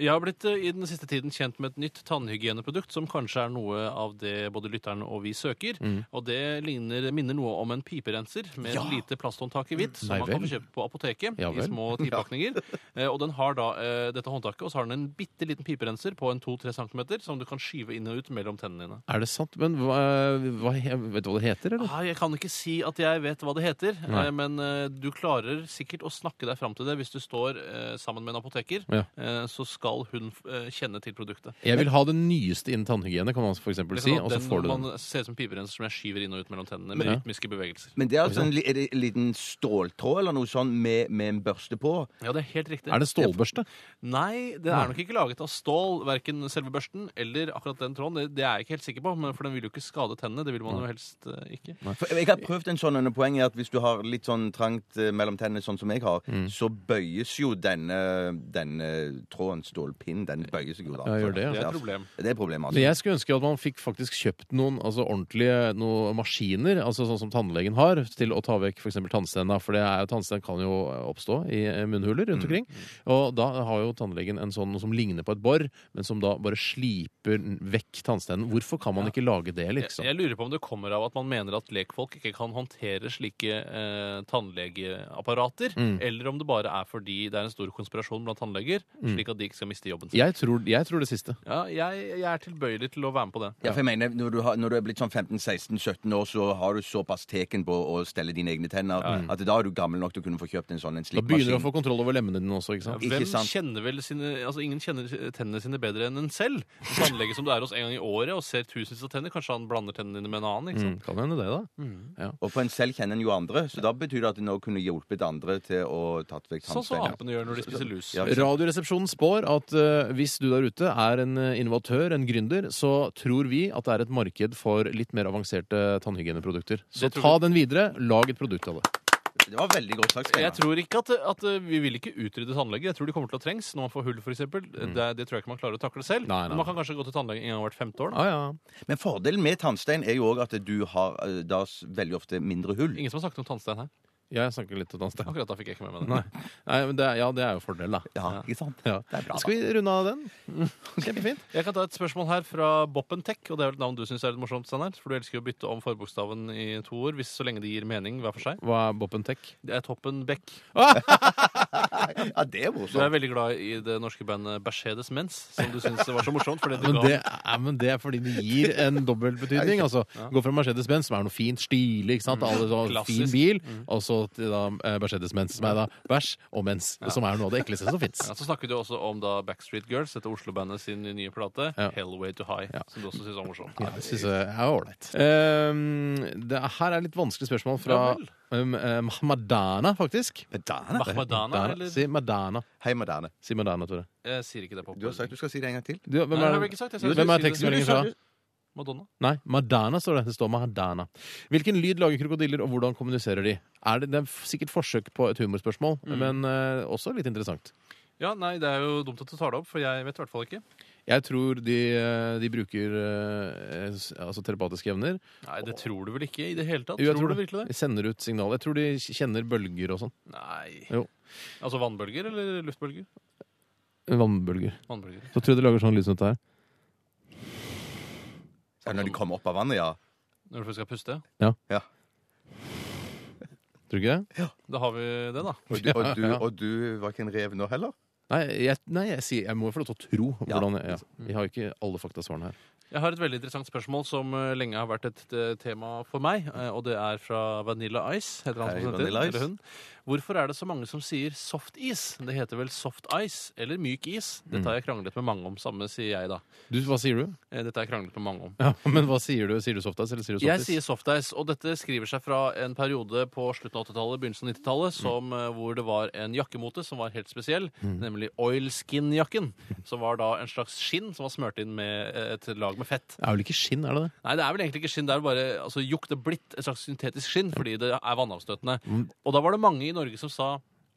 Jeg har blitt eh, i den siste tiden kjent med et nytt tannhygieneprodukt som kanskje er noe av det både lytteren og vi søker. Mm. Og det ligner, minner noe om en piperenser med et lite plasthåndtak i hvitt som Nei man kan vel. få kjøpt på apoteket Ja i vel. små tipakninger. Eh, Og den har da eh, dette håndtaket, og så har den en bitte liten piperenser på en 2-3 cm som du kan skyve inn og ut mellom tennene dine. Er det sant? Men hva, hva, vet du hva det heter, eller? Ah, jeg kan ikke si at jeg vet hva det heter, Nei. eh, men eh, du klarer sikkert å snakke deg fram til det hvis du står eh, sammen med en apoteker. Ja. eh, Så skal hun eh, kjenne til produktet. Jeg vil ha det nyeste innen tannhygiene, kan man for eksempel Det si. kan Og så være Liksom, den får du den. Man ser ut som piperenser som jeg skyver inn og ut mellom tennene med Ja. rytmiske bevegelser. Men det er altså en, li- er det en liten ståltråd eller noe sånn med, med en børste på. Ja, det er helt riktig. Er det stålbørste? Nei, den er nok ikke laget av stål, verken selve børsten eller akkurat den tråden. Det, det er jeg ikke helt sikker på, men for den vil jo ikke skade tennene. Det vil man jo helst eh, ikke. For jeg har prøvd en sånn, og poenget er at hvis du har litt sånn trangt eh, mellom tennene, sånn som jeg har, Mm. så bøyes jo denne, denne tråden, stålpinnen, den bøyer seg jo da. Ja, gjør det, ja. Det er et problem. Det er problemet, Men altså. jeg skulle ønske at man fikk faktisk kjøpt noen altså ordentlige noen maskiner, altså sånn som tannlegen har, til å ta vekk f.eks. tannstenene. For det er jo tannsten kan jo oppstå i eh, munnhuler rundt omkring. Og da har jo tannlegen en sånn som ligner på et bor, men som da bare sliper vekk tannstenen. Hvorfor kan man ikke lage det, Jeg, liksom? jeg lurer på om det kommer av at man mener at lekfolk ikke kan håndtere slike eh, tannlegeapparater, Mm. eller om det bare er fordi det er en stor konspirasjon blant tannleger, Mm. slik at de ikke skal miste jobben sin. Jeg tror, jeg tror det siste. Ja, jeg, jeg er tilbøyelig til å være med på det. Ja, for jeg mener, når du, har, når du er blitt sånn 15-16-17 år, så har du såpass teken på å stelle dine egne tenner at da er du gammel nok til å kunne få kjøpt en sånn en Da slik begynner du maskin. å få kontroll over lemmene dine også, ikke sant? Ikke Hvem sant? kjenner vel sine, altså Ingen kjenner tennene sine bedre enn en selv. En tannlege som du er hos en gang i året og ser tusenvis av tenner, kanskje han blander tennene dine med en annen. ikke sant? Mm, kan hende det, da. Og på en selv kjenner en jo andre, så da betyr det at en også kunne hjulpet andre til å tatt vekk Mm, Sånn som tannsteiner. apene gjør når de spiser lus. Ja. Radioresepsjonen spår at eh, hvis du der ute er en eh, innovatør, en gründer, så tror vi at det er et marked for litt mer avanserte tannhygieneprodukter. Så Det tror ta den videre, lag et produkt av det. Det var veldig godt sagt. Steinar. Jeg tror ikke at, at eh, vi vil ikke utrydde tannleger. Jeg tror de kommer til å trengs når man får hull, f.eks. Det, det tror jeg ikke man klarer å takle selv. Mm. Nei, nei. Men Man kan kanskje gå til tannlegen en gang hvert femte år. Da. Ah, ja. Men fordelen med tannstein er jo òg at du har eh, da s- veldig ofte mindre hull. Ingen som har snakket om tannstein her. Jeg snakker litt et annet sted. Akkurat da fikk jeg ikke med meg det. Nei. Nei, men det er, ja, det er jo fordel, da. Ja, ikke sant? Ja. Det er bra, Skal vi runde av den? Kjempefint. Jeg kan ta et spørsmål her fra Boppentech, og det er vel et navn du syns er litt morsomt, Steinar. For du elsker jo å bytte om forbokstaven i to ord, hvis så lenge det gir mening hver for seg. Hva er Boppen Tech? Det er Toppen Beck. da. Ja, det er Du er morsomt. veldig glad i det norske bandet Mercedes Mens, som du syns var så morsomt. Fordi du Men ga det, er, men det er fordi det gir en dobbeltbetydning. Altså, Gå fra Mercedes-Benz, som er noe fint, stilig, ikke sant? Alle så, fin Klassisk. bil, og så til da eh, Mercedes-Benz, som er da bæsj og mens, som er noe av det ekleste som fins. ja, så snakket du også om da Backstreet Girls, dette Oslo-bandet sin nye plate, Ja. Hellway to High, som du også syns var morsomt. Ja, det syns jeg er ålreit. Ehm, det her er litt vanskelig spørsmål fra Ja vel. um, eh, Mahmadana, faktisk. Madonna. Mahmadana, Madana. eller? Si Madana. Hei, Madonna. Si Madana, Tore. Jeg sier ikke det på Du har sagt du skal si det en gang til. Du, hvem Nei, det har er, vi ikke sagt. Jeg sa Jo, vi skulle hvem er si det. tekstmeldingen Jo, du fra? sa det. Madonna. Nei, Madana står det. Det står Madana. Hvilken lyd lager krokodiller, og hvordan kommuniserer de? Er det, det er sikkert forsøk på et humorspørsmål, Mm. men eh, også litt interessant. Ja, nei, det er jo dumt at du tar det opp, for jeg vet i hvert fall ikke. Jeg tror de, eh, de bruker eh, s- altså telepatiske evner. Nei, det tror du vel ikke i det hele tatt? Jo, jeg tror, du virkelig det? De sender ut signaler. Jeg tror de kjenner bølger og sånn. Nei. Jo. Altså vannbølger eller luftbølger? Vannbølger. Vannbølger. Så tror jeg de lager sånn lyd som dette her. Ja, Når de kommer opp av vannet, ja. Når du først skal puste? Tror du ikke det? Da har vi det, da. Og du, og du, og du var ikke en rev nå heller? Nei, jeg, nei, jeg, sier, jeg må jo få lov til å tro. Ja. Hvordan, ja. Vi har jo ikke alle faktasvarene her. Jeg har et veldig interessant spørsmål som eh, lenge har vært et eh, tema for meg. eh, Og det er fra Vanilla Ice. Heter han Hei, som heter, Vanilla Ice. eller hun. Hvorfor er det så mange som sier soft is? Det heter vel soft ice eller myk is? Dette Mm. har jeg kranglet med mange om. Samme sier jeg, da. Du, hva sier du? Eh, Dette har jeg kranglet med mange om. Ja, men hva sier du? Sier du softis eller sier du softis? Jeg sier softice, og dette skriver seg fra en periode på slutten av 80-tallet, begynnelsen av Mm. 90-tallet, som, eh, hvor det var en jakkemote som var helt spesiell, Mm. nemlig oilskin-jakken, som var da en slags skinn som var smørt inn med eh, et lag med fett. Det er vel ikke skinn, er det det? Nei, det er vel egentlig ikke skinn, det er bare altså, jukt det er blitt et slags syntetisk skinn, fordi det er vannavstøtende. Og da var det mange i Norge som sa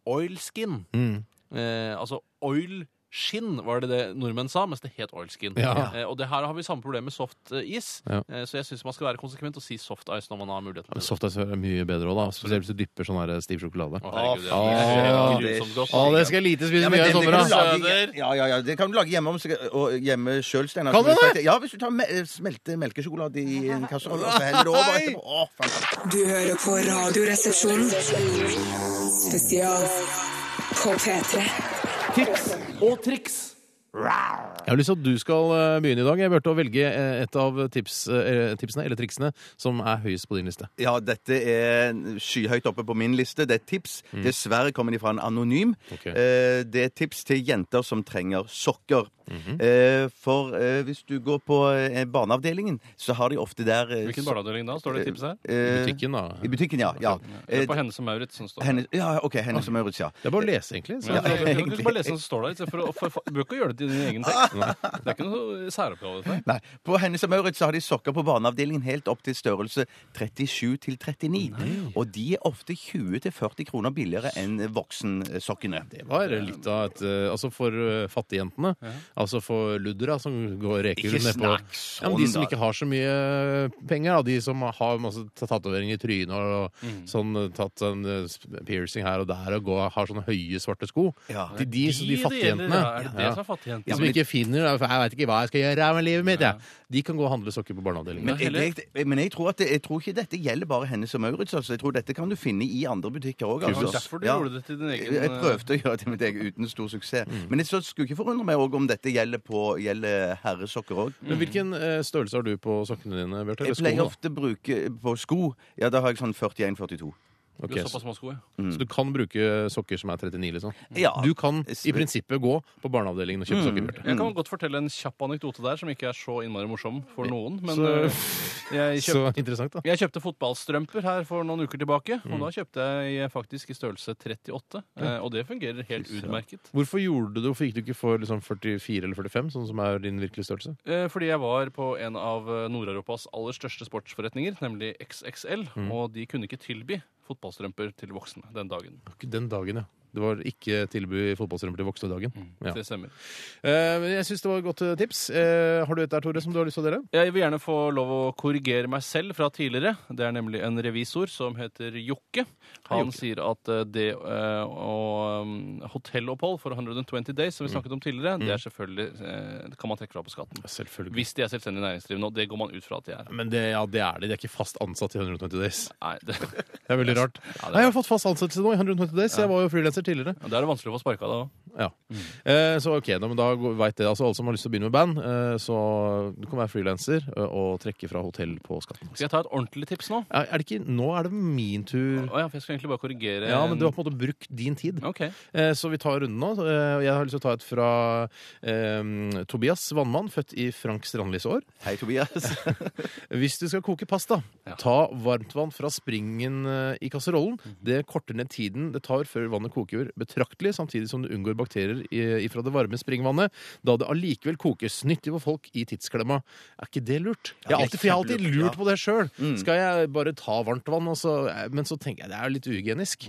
oilskin. Eh, altså oil Skinn var det det nordmenn sa, mens det het oilskin. Ja. Eh, og det her har vi samme problem med soft eh, is, Ja. eh, så jeg syns man skal være konsekvent og si soft ice når man har muligheten. Men til det. Softice er mye bedre òg, da. Spesielt hvis du dypper sånn her stiv sjokolade. Å, herregud, Å, det er faen. grusomt godt. Å, det skal jeg lite spise mye av i det, det sommer, kan du da. lage, ja, ja, ja, det kan du lage hjemme, om, og hjemme sjøl, Steinar. Kan Som du du det? sa. Ja, hvis du tar me smelter melkesjokolade i en kasseroll og så heller det over etterpå. Å, fantastisk. Du hører på Radioresepsjonen. Spesial på P3. Jeg har lyst til at du skal eh, begynne i dag. Jeg burde å velge eh, et av tips, eh, tipsene, eller triksene, som er høyest på din liste. Ja, dette er skyhøyt oppe på min liste. Det er et tips. Dessverre kommer de fra en anonym. Mm. Ok. Eh, Det er et tips til jenter som trenger sokker. Mhm. Eh, For eh, hvis du går på eh, barneavdelingen, så har de ofte der eh, Hvilken so- barneavdeling da? Står det i tipset her? eh, Butikken, da. I butikken, ja. ja. Det Eh, er på Hennes og Maurits som står der. Hennes, ja, OK. Hennes og Maurits, ja. Det er bare å lese, egentlig. Så. Ja, Ja. du kan ikke bare lese hva som står der. i stedet For å, for, for, du bør ikke gjøre det til din egen tekst. Det er ikke noe særoppgave. dette her. Nei, På Hennes og Maurits så har de sokker på barneavdelingen helt opp til størrelse 37 til 39. Og de er ofte 20-40 kroner billigere enn voksensokkene. Det var litt av et eh, Altså for eh, fattigjentene. Altså for luddera som går reker Ikke nedpå. snakk Ja, men de sånn, som da. ikke har så mye eh, penger, da. De som har masse tatoveringer i trynet og Mm. sånn eh, tatt en eh, sp- piercing her og der og går, har sånne høye, svarte sko. Ja. Til de, så de det gjelder, fattigjentene. ja. Er det det som er fattigjentene? De som ikke finner Jeg vet ikke hva jeg skal gjøre med livet mitt, jeg. De kan gå og handle sokker på barneavdelingen. Men, jeg, jeg, men jeg, tror at det, jeg tror ikke dette gjelder bare Hennes og Maurits. Altså. Jeg tror dette kan du finne i andre butikker òg. Det var derfor du gjorde det til din egen eh, Jeg prøvde å gjøre det med deg uten stor suksess. Mm. Men jeg så skulle ikke forundre meg også om dette gjelder, på, gjelder herresokker òg. Men hvilken eh, størrelse har du på sokkene dine, Bjarte? Eller Jeg skoene, pleier da? ofte bruke på sko. Ja, da har jeg sånn 41-42. Ok, Du så, har eh, såpass små sko, ja. så du kan bruke sokker som er 39, liksom? Ja. Du kan i prinsippet gå på barneavdelingen og kjøpe sokker, Bjarte. Jeg kan godt fortelle en kjapp anekdote der som ikke er så innmari morsom for noen. Men Så- eh, jeg, kjøp, Så interessant, da. jeg kjøpte fotballstrømper her for noen uker tilbake. Mm. Og da kjøpte jeg faktisk i størrelse 38, eh, og det fungerer helt utmerket. Hvorfor gjorde du det? Hvorfor gikk du ikke for liksom 44 eller 45, sånn som er din virkelige størrelse? Eh, Fordi jeg var på Mm. en av eh, Nord-Europas aller største sportsforretninger, nemlig XXL, og de kunne ikke tilby fotballstrømper til voksne den dagen. Den dagen, ja. Mm. Det var ikke tilby fotballstrømper til voksne dagen. Ja. Det stemmer. Eh, men jeg syns det var et godt eh, tips. Eh, har du et der, Tore, som du har lyst til å dele? Jeg vil gjerne få lov å korrigere meg selv fra tidligere. Det er nemlig en revisor som heter Jokke. Han sier at eh, det eh, å eh, hotellopphold for 120 days, Mm. som vi snakket om tidligere, det er selvfølgelig eh, det kan man trekke fra på skatten. Selvfølgelig. Hvis de er selvstendig næringsdrivende, og det går man ut fra at de er. Men det, ja, det er de. De er ikke fast ansatt i 120 Days. Nei, det, Det er veldig rart. det er- Nei, jeg har fått fast ansettelse nå i 120 Days. Jeg var jo frilanser tidligere. da er det vanskelig å få sparka da òg. Ja. Eh, så ok, da, men da går- vet det. Altså, alle som har lyst til å begynne med band, eh, så du kan være frilanser eh, og trekke fra hotell på skatten. Skal jeg ta et ordentlig tips nå? Er, er det ikke, nå er det min tur. Å ja, for jeg skal egentlig bare korrigere Ja, men en- du har på en måte brukt din tid. Ok. Eh, Så vi tar runden nå. Eh, og Jeg har lyst til å ta et fra eh, Tobias Vannmann, født i Frank Strandlis år. Hei, Tobias. Hvis du skal koke pasta, Ja. ta varmtvann fra springen eh, i kasserollen. Det korter ned tiden det tar før vannet koker betraktelig, samtidig som du unngår bakterier i- ifra det varme springvannet, da det allikevel kokes. Nyttig for folk i tidsklemma. Er ikke det lurt? Jeg har alltid, for jeg har alltid lurt på det sjøl. Skal jeg bare ta varmtvann, og så Men så tenker jeg det er jo litt uhygienisk.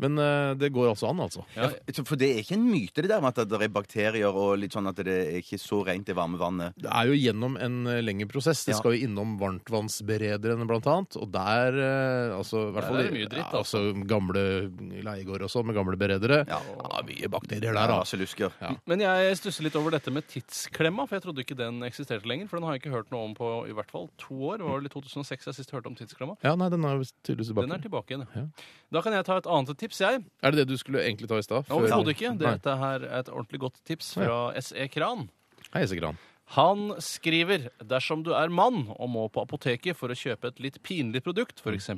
Men eh, det går altså an, altså. Ja, Så- For det er ikke en myte, det der med at det er bakterier og litt sånn at det er ikke så rent, det varme vannet. Det er jo gjennom en eh, lengre prosess. Det Ja. skal jo innom varmtvannsberederne, blant annet. Og der eh, altså, i hvert Der fall, er det mye dritt, ja, altså. Gamle leiegårder og sånn, med gamle beredere. Ja. Ja, mye bakterier der, altså. Raselusker. Men jeg stusser litt over dette med tidsklemma, for jeg trodde ikke den eksisterte lenger. For den har jeg ikke hørt noe om på i hvert fall to år. Det var vel i 2006 jeg sist hørte om tidsklemma. Ja, nei, den er jo tydeligvis tilbake. Den er tilbake igjen. Ja. Da kan jeg ta et annet tips, jeg. Er det det du skulle egentlig ta i stad? Før- Overhodet ikke. Nei. Dette her er et ordentlig godt tips fra SE Kran. Hei, Segran. Han skriver dersom du er mann og må på apoteket for å kjøpe et litt pinlig produkt, Mm. f.eks.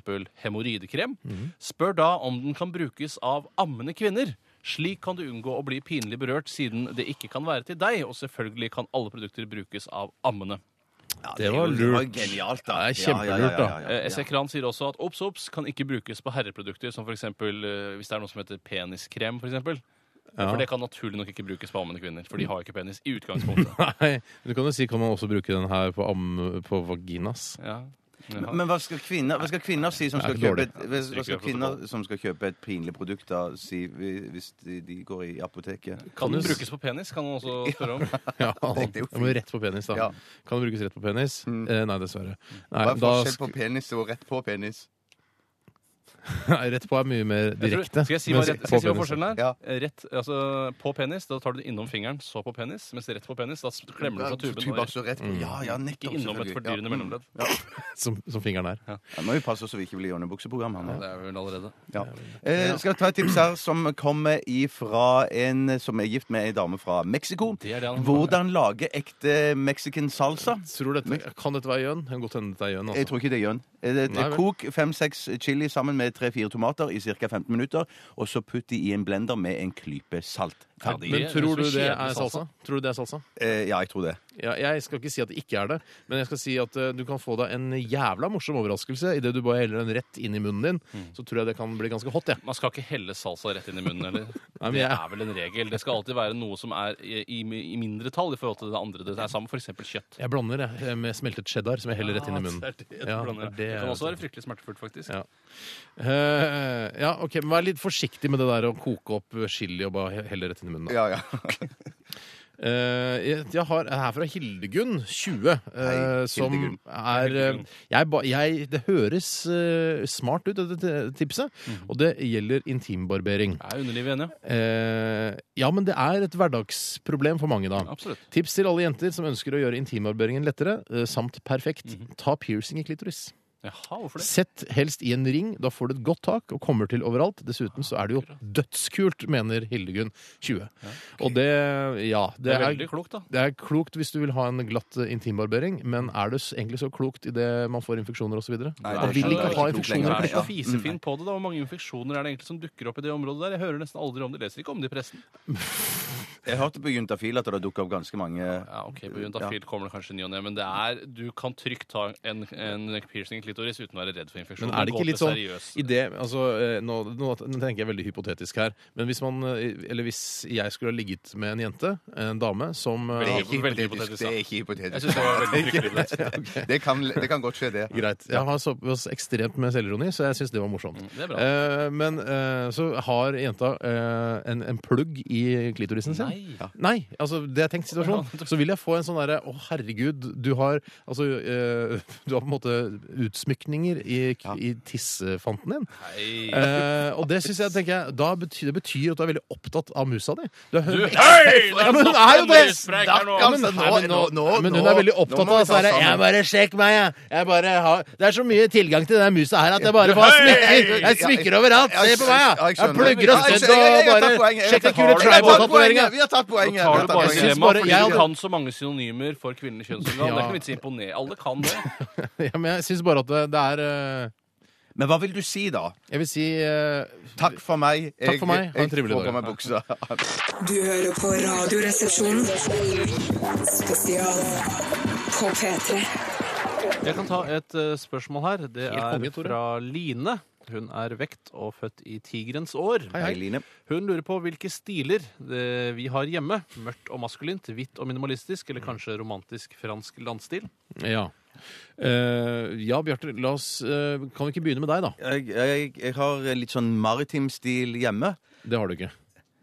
hemoroidekrem, spør da om den kan brukes av ammende kvinner. Slik kan du unngå å bli pinlig berørt, siden det ikke kan være til deg. Og selvfølgelig kan alle produkter brukes av ammende. det var Det var lurt. genialt, da. Det er kjempelurt, da. Ja, ja, ja, ja, ja. Eh, SE Kran sier også at obs, obs kan ikke brukes på herreprodukter, som f.eks. hvis det er noe som heter peniskrem, f.eks. eksempel Ja. For det kan naturlig nok ikke brukes på ammende kvinner, for de har jo ikke penis i utgangspunktet. Nei, men du kan jo si kan man også bruke den her på, am på vaginas. Ja. Men- Men hva skal kvinner, hva skal kvinner si som Det er skal ikke kjøpe dårlig. et, hva- hva skal Ikke kvinner som skal kjøpe et pinlig produkt, da, si vi- hvis de, de går i apoteket? Kan du den s- brukes på penis, kan man også spørre om. Ja, tenkte jeg jo må rett på penis, da. Ja. Kan det brukes rett på penis? Eh, nei, dessverre. Nei, Hva er da, forskjell på penis og rett på penis? nei, rett på er mye mer Jeg tror- direkte. Skal jeg si hva, mens rett, skal jeg si hva på penis- forskjellen er? Ja. Rett, altså, på penis, da tar du det innom fingeren, så på penis. Mens rett på penis, da klemmer du fra tuben. Tubakk og så rett på. Ja, ja, Ikke nettopp. innom et selvfølgelig. fordyrende Ja. mellomledd. Som, som fingeren er. Ja, må jo passe så vi ikke blir åndebukseprogram. her nå. Det er vel allerede. Ja. Eh, skal jeg ta et tips her som kommer ifra en som er gift med ei dame fra Mexico. Det er det han- Hvordan lage ekte mexican salsa? Tror du dette, kan dette være gjøn? Det kan godt hende dette er gjøn. Jeg Altså. tror ikke det gjør den. Eh, det- Nei vel. Kok fem-seks chili sammen med tre-fire tomater i ca. 15 minutter, og så putt de i en blender med en klype salt. Ferdig. Men Det er tror du det ganske kjedelig er salsa? salsa. Tror du det er salsa? Eh, ja, jeg tror det. Ja, jeg skal ikke si at det ikke er det, men jeg skal si at eh, du kan få deg en jævla morsom overraskelse idet du bare heller den rett inn i munnen din. Så tror jeg det kan bli ganske hot, jeg. Man skal ikke helle salsa rett inn i munnen, eller? Nei, men Det jeg- er vel en regel. Det skal alltid være noe som er i, i, i mindretall i forhold til det andre det er sammen, f.eks. kjøtt. Jeg blander jeg, med smeltet cheddar, som jeg heller rett inn i munnen. Ah, det, er det, du Ja, blander. det det er- kan også være fryktelig smertefullt, faktisk. Ja. Eh, ja, ok, men Vær litt forsiktig med det der å koke opp chili og bare he- helle rett inn i munnen. da. Ja, ja. Eh, jeg, jeg har her fra Hildegunn, 20, eh, Hei, som Hildegunn. er eh, jeg, ba- jeg, Det høres eh, smart ut, dette t- tipset, og det gjelder intimbarbering. Det er underlivet igjen, ja. Eh, ja, men det er et hverdagsproblem for mange, da. Absolutt. Tips til alle jenter som ønsker å gjøre intimbarberingen lettere, eh, samt perfekt. Ta piercing i klitoris. Jaha, hvorfor det? Sett helst i en ring, da får du et godt tak og kommer til overalt. Dessuten så er det jo dødskult, mener Hildegunn 20. Og det, ja, Det det er er veldig klokt, da. det er klokt hvis du vil ha en glatt eh, intimbarbering, men er det s- egentlig så klokt idet man får infeksjoner osv.? Man det er vil ikke ikke ha klokt infeksjoner. i Det lenger, er klitoris. så fisefint på det, da. Hvor mange infeksjoner er det egentlig som dukker opp i det området der? Jeg hører nesten aldri om det, leser ikke om det i pressen. Jeg hørte på Juntafil at det dukka opp ganske mange Ja, ok, På Juntafil kommer det kanskje ny og ne, men det er, du kan trygt ta en, en piercing i klitoris uten å være redd for infeksjon. Men er det Gå ikke litt til sånn seriøs- i det, altså, eh, nå, nå nå tenker jeg veldig hypotetisk her, men hvis man eh, Eller hvis jeg skulle ha ligget med en jente, en dame, som eh, Det er har- ikke veldig hypotetisk. Det er da. ikke Jeg hypotetisk. synes det var veldig fryktelig hypotetisk. Det kan, det kan godt skje, det. Greit. Jeg har såpass ekstremt med selvironi, så jeg syns det var morsomt. det er bra. Eh, men eh, så har jenta eh, en, en plugg i klitorisen sin. Nei. Ja. Nei, altså det er tenkt situasjon. Så vil jeg få en sånn derre Å, herregud, du har altså eh, Du har på en måte utsmykninger i, i tissefanten din. Nei. Eh, og det syns jeg, tenker jeg da betyr, Det betyr at du er veldig opptatt av musa di. Du er, Hei! ja, men hun er jo det! Stakkars! Ja, men, nei, men, nå, men hun er veldig opptatt av sånn det. her, Jeg bare sjekk meg, jeg. jeg bare har, det er så mye tilgang til den musa her at jeg bare får smykker. Hei! Jeg smykker overalt. Ja, Se jeg- på meg, ja, ja. jeg Jeg skjønner. plugger og Ja, jeg stødd skjønner. Jeg- og bare jeg har tatt poenget. Jeg Sjekk tar den kule poenget. Vi har tatt tribal-tatoveringa. poenget. Vi har tatt poenget. Tar du Vi har bare tatt synes poenget. skjema bare- fordi jeg du hadde- kan så mange synonymer for kvinnelig kjønnsorgan? Det er Ja. ikke vits å imponere. Alle kan det. Ja, men jeg syns bare at det, det er eh, Men hva vil du si, da? Jeg vil si eh, Takk for meg. Takk for meg. Ha en trivelig får dag. på meg buksa. Du hører på Radioresepsjonen. Spesial på P3. Jeg kan ta et eh, spørsmål her. Det Helt er konge, Tore. fra Line. Hun er vekt og født i tigerens år. Hei, Line. Hun lurer på hvilke stiler eh, vi har hjemme. Mørkt og maskulint, hvitt og minimalistisk, Mm. eller kanskje romantisk fransk landstil. Ja. Eh, ja, Bjarte, la oss eh, Kan vi ikke begynne med deg, da? Jeg, jeg, jeg har litt sånn maritim stil hjemme. Det har du ikke.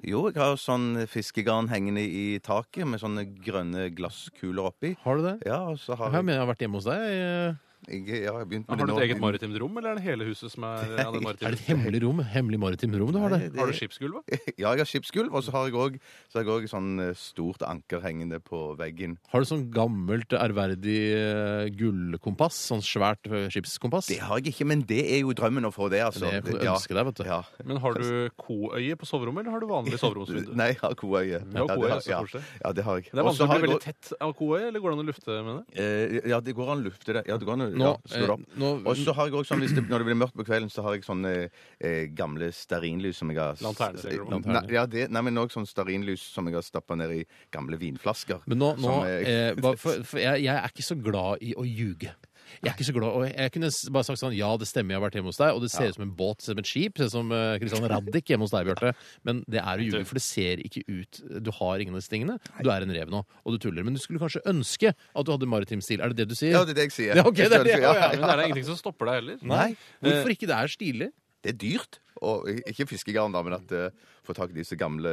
Jo, jeg har sånn fiskegarn hengende i taket med sånne grønne glasskuler oppi. Har du det? Ja, og så har Jeg jeg, mener jeg har vært hjemme hos deg. eh, jeg, ja, jeg har begynt med Har du det et eget nå. maritimt rom, eller er det hele huset som er av det Er det et maritime? hemmelig rom? Hemmelig maritimt rom du har der? Har du skipsgulvet? Ja, jeg har skipsgulv, og så har jeg òg sånn eh, stort anker hengende på veggen. Har du sånn gammelt, ærverdig eh, gullkompass? Sånn svært eh, skipskompass? Det har jeg ikke, men det er jo drømmen å få det, altså. Det jeg kunne Ja. ønske deg, vet du. Ja. Men har du koøye på soverommet, eller har du vanlig soveromsvindu? Nei, jeg har koøye. har koøye, så ja. koselig. ja, det har jeg. Det er Og vanskelig å så har bli jeg veldig tett av koøye, eller går det an å lufte med det? Eh, Ja, det går an å lufte det. Ja, det går an å ja, Nå, slå det opp. eh, nå- og så har jeg også sånn, hvis det, når det blir mørkt på kvelden, så har jeg sånne eh, gamle stearinlys som jeg har Lanterne, sier du. Nei, ja, det, nei, men også sånn stearinlys som jeg har stappa ned i gamle vinflasker. Men nå, nå som jeg- eh, hva- for, for jeg, jeg er ikke så glad i å ljuge. Jeg er ikke så glad, og jeg kunne s- bare sagt sånn Ja, det stemmer, jeg har vært hjemme hos deg, og det ser ut som en båt, ser ut som et skip, ser ut som eh, Christian Raddik hjemme hos deg, Bjarte. Men det er å ljuge, for det ser ikke ut Du har ingen av disse tingene. Du er en rev nå, og du tuller. Men du skulle kanskje ønske at du hadde maritim stil. Er det det du sier? Ja, eh, det er det jeg sier. Ja, ok, det er det, ja, ja. Men det er det ingenting som stopper deg heller. Nei. Hvorfor ikke? Det er stilig. Det er dyrt. Og ikke fiskegarn, da, men at eh, få tak i disse gamle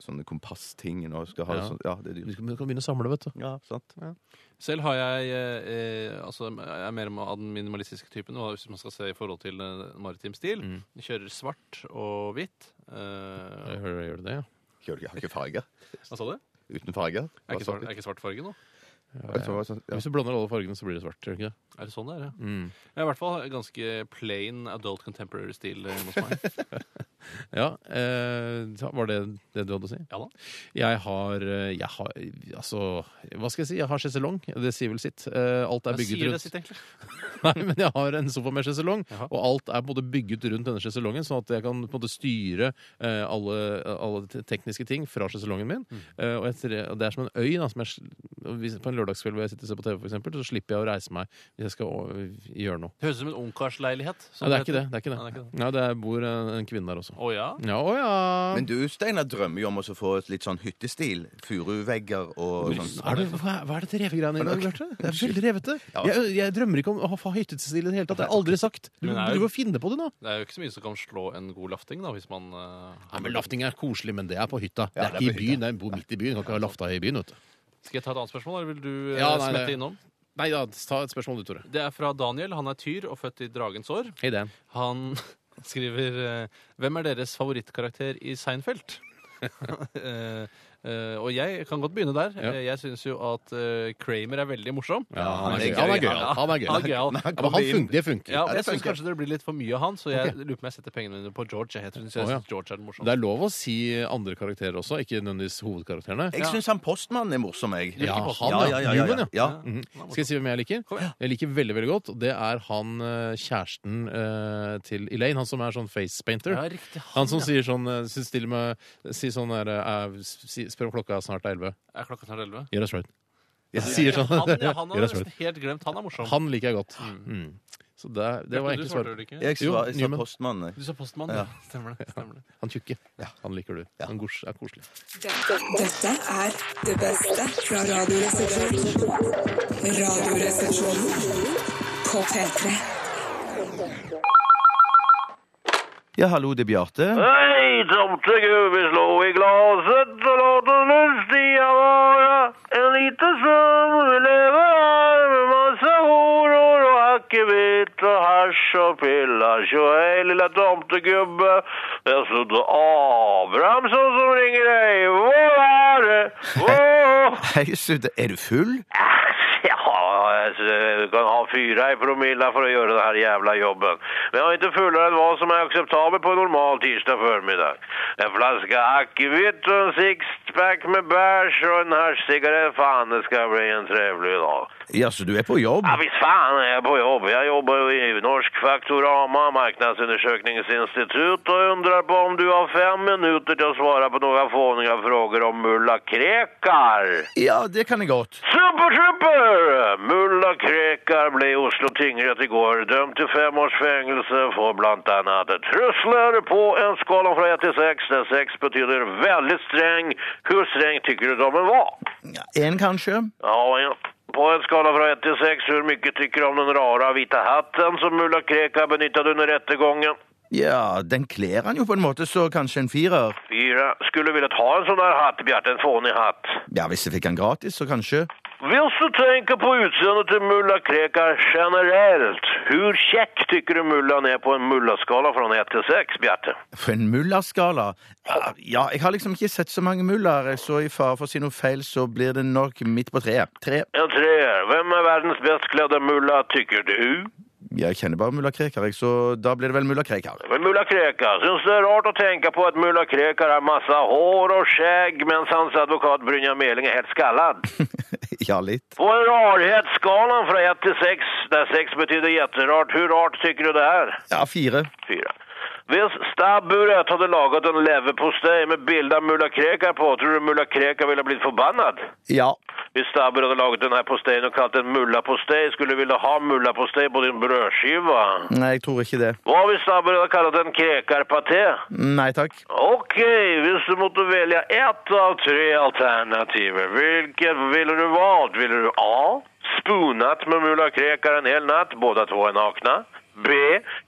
sånne kompasstingene og skal ha Ja. sånn Ja, det er Du dyrt. kan du kan begynne å samle, vet du. Ja, sant. Selv har jeg eh, eh, altså, jeg er mer av den minimalistiske typen, og hvis man skal se i forhold til eh, maritim stil. Mm. Jeg Kjører svart og hvitt. Eh, Jeg hører jeg gjør det, ja. Kjører ikke- Har ikke farger. hva sa du? Uten farger. Er ikke, svart, er ikke svart farge nå? sånn, Ja. Hvis du blander alle fargene, så blir det svart. Gjør det ikke det? Er det sånn det er? Ja. Mm. Jeg er i hvert fall ganske plain adult contemporary stil eh, hos meg. Ja, eh, så Var det det du hadde å si? Ja da. Jeg har, eh, jeg har Altså, hva skal jeg si? Jeg har sjeselong. Det sier vel sitt. Eh, alt er Jeg bygget sier det rundt sitt, egentlig. Nei, men jeg har en sofa med sjeselong, Jaha. og alt er på en måte bygget rundt denne sjeselongen, sånn at jeg kan på en måte styre eh, alle, alle te- tekniske ting fra sjeselongen min. Mm. Eh, og, jeg, tre- og det er som en øy. Da, som jeg, sl- og hvis- på en lørdagskveld hvor jeg sitter og ser på TV, for eksempel, så slipper jeg å reise meg hvis jeg skal å, gjøre noe. Høres ut som en ungkarsleilighet. som Nei, det er ikke heter. det. det, er ikke det. Nei, det er ikke Nei, det er, bor en, en kvinne der også. Å ja? Ja, å ja. Men du, Steinar, drømmer jo om å så få et litt sånn hyttestil. Furuvegger og sånn. er det, hva, hva er dette revegreiene i dag, Bjarte? Det er veldig revete. Ja. Jeg, jeg drømmer ikke om å ha hyttestil i det hele tatt. Det har jeg aldri sagt. Du Men det er jo- driver og finner på det nå. Det er jo ikke så mye som kan slå en god lafting, da, hvis man eh, Nei, men Lafting er koselig, men det er på hytta. Ja, det er det er ikke i på byen. Det er bo midt i byen. Kan ikke ha lafta i byen, vet du. Skal jeg ta et annet spørsmål, eller vil du eh, Ja, nei, smette det- innom? Nei da, ta et spørsmål du, Tore. Det er fra Daniel. Han er tyr og født i dragens år. Hei, Dan. Han skriver eh, Hvem er deres favorittkarakter i Seinfeld? Eh, Eh, og jeg kan godt begynne der. Ja. Eh, Jeg syns jo at eh, Kramer er veldig morsom. Ja, han gøy. er han er gøy. Ja, Han er gøy. han er gøyal. Ja, men han funker, det funker. Ja, og det, jeg syns kanskje det blir litt for mye av han, så jeg Ok. lurer på om jeg setter pengene mine på George. Jeg synes, jeg Å, ja. synes George er den morsomste. er lov å si andre karakterer også, ikke nødvendigvis hovedkarakterene. Jeg syns han postmannen er morsom, jeg. Ja, han, ja, ja, ja, ja, Newman, ja. ja. Mhm. Skal jeg si hvem jeg liker? Jeg liker veldig veldig godt. og Det er han eh, kjæresten eh, til Elaine, han som er sånn face painter. Ja, riktig. Han som sier sånn eh, synes til med, Sier sånn der eh, si, Spør om klokka snart er 11 Er klokka snart elleve? Gjør det straight Sier sånn Han, ja, han Gjør har det straight nesten helt glemt. Han er morsom. Han liker jeg godt mm. Så det, det du var egentlig svarte svaret vel ikke? Jeg Jo, sa, jeg sa Newman. postmannen. jeg. Du sa postmann, ja. Stemmer det. stemmer det. Han tjukke Han liker du Han gors, er koselig Dette er det beste fra Radioresepsjonen. Radioresepsjonen på P3. Ja, hallo, det er Bjarte. Hei, tomte gubbe, slå i glaset og låt oss lystia vara. En liten stund vi lever her med masse horor og akevitt og hasj og piller. Tjo hei, lilla tomtegubbe. Det er Sudde Abrahamsson som ringer deg. Hvor er det? Hvor? Hei, Sudde. Er du full? Ja, altså, du kan ha fyra i promilla for å gjøre den här jävla jobben. Men jag är inte fullare än vad som är acceptabelt på en normal tisdag förmiddag. En flaska akvavit och en sixpack med bärs och en haschcigarett. Fan, det ska bli en trevlig dag. Ja, så du er på jobb? Ja, visst fan är jag på jobb. Jag jobbar ju i Norsk Faktorama, marknadsundersökningsinstitut och undrar på om du har fem minuter till att svara på några fåniga frågor om mulla krekar. Ja, det kan jeg godt. Super, super! Mulla Krekar ble i Oslo tingrett i går dømt til fem års fengelse for blant annet trusler på en skala fra 1 til 6, der 6 betyr veldig streng. Hvor streng tykker du dommen var? En, kanskje? Ja, en- på en skala fra 1 til 6, hvor mye tykker du om den rara hvite hatten som mulla Krekar benyttet under rettegången? Ja, den kler han jo på en måte, så kanskje en firer. Fyra. Skulle villet ha en sånn der hatt, Bjarte, en fånig hatt. Ja, hvis jeg fikk han gratis, så kanskje. Hvis du tenker på utseendet til mulla Krekar generelt, hvor kjekk tykker du mullaen er på en mullaskala fra 1 til 6, Bjarte? For en mullerskala. Ja, jeg har liksom ikke sett så mange muller, så i fare for å si noe feil, så blir det nok midt på treet. Tre. En treer. Hvem er verdens best kledde mulla, tykker du? Jeg kjenner bare mulla Krekar, jeg, så da blir det vel mulla Krekar. Men mulla Krekar, syns det er rart å tenke på at mulla Krekar har masse hår og skjegg, mens hans advokat Brynja Meling er helt skallad? Ja, litt. På rarhetsskalaen fra 1 til 6, der 6 betyr jätterart, hvor rart tykker du det er? Ja, fire. Fyra. Hvis stabburet hadde laget en leverpostei med bilde av mulla Krekar på, tror du mulla Krekar ville blitt forbannet? Ja. Hvis stabburet hadde laget denne posteien og kalt den mullapostei, skulle du ville ha mullapostei på din brødskive. Nei, jeg tror ikke det. Hva hvis stabburet hadde kalt den krekarpaté? Nei takk. Ok, hvis du måtte velge ett av tre alternativer, hvilket ville du valgt? Ville du A. Spoonat med mulla Krekar en hel natt, båda två är nakna. B.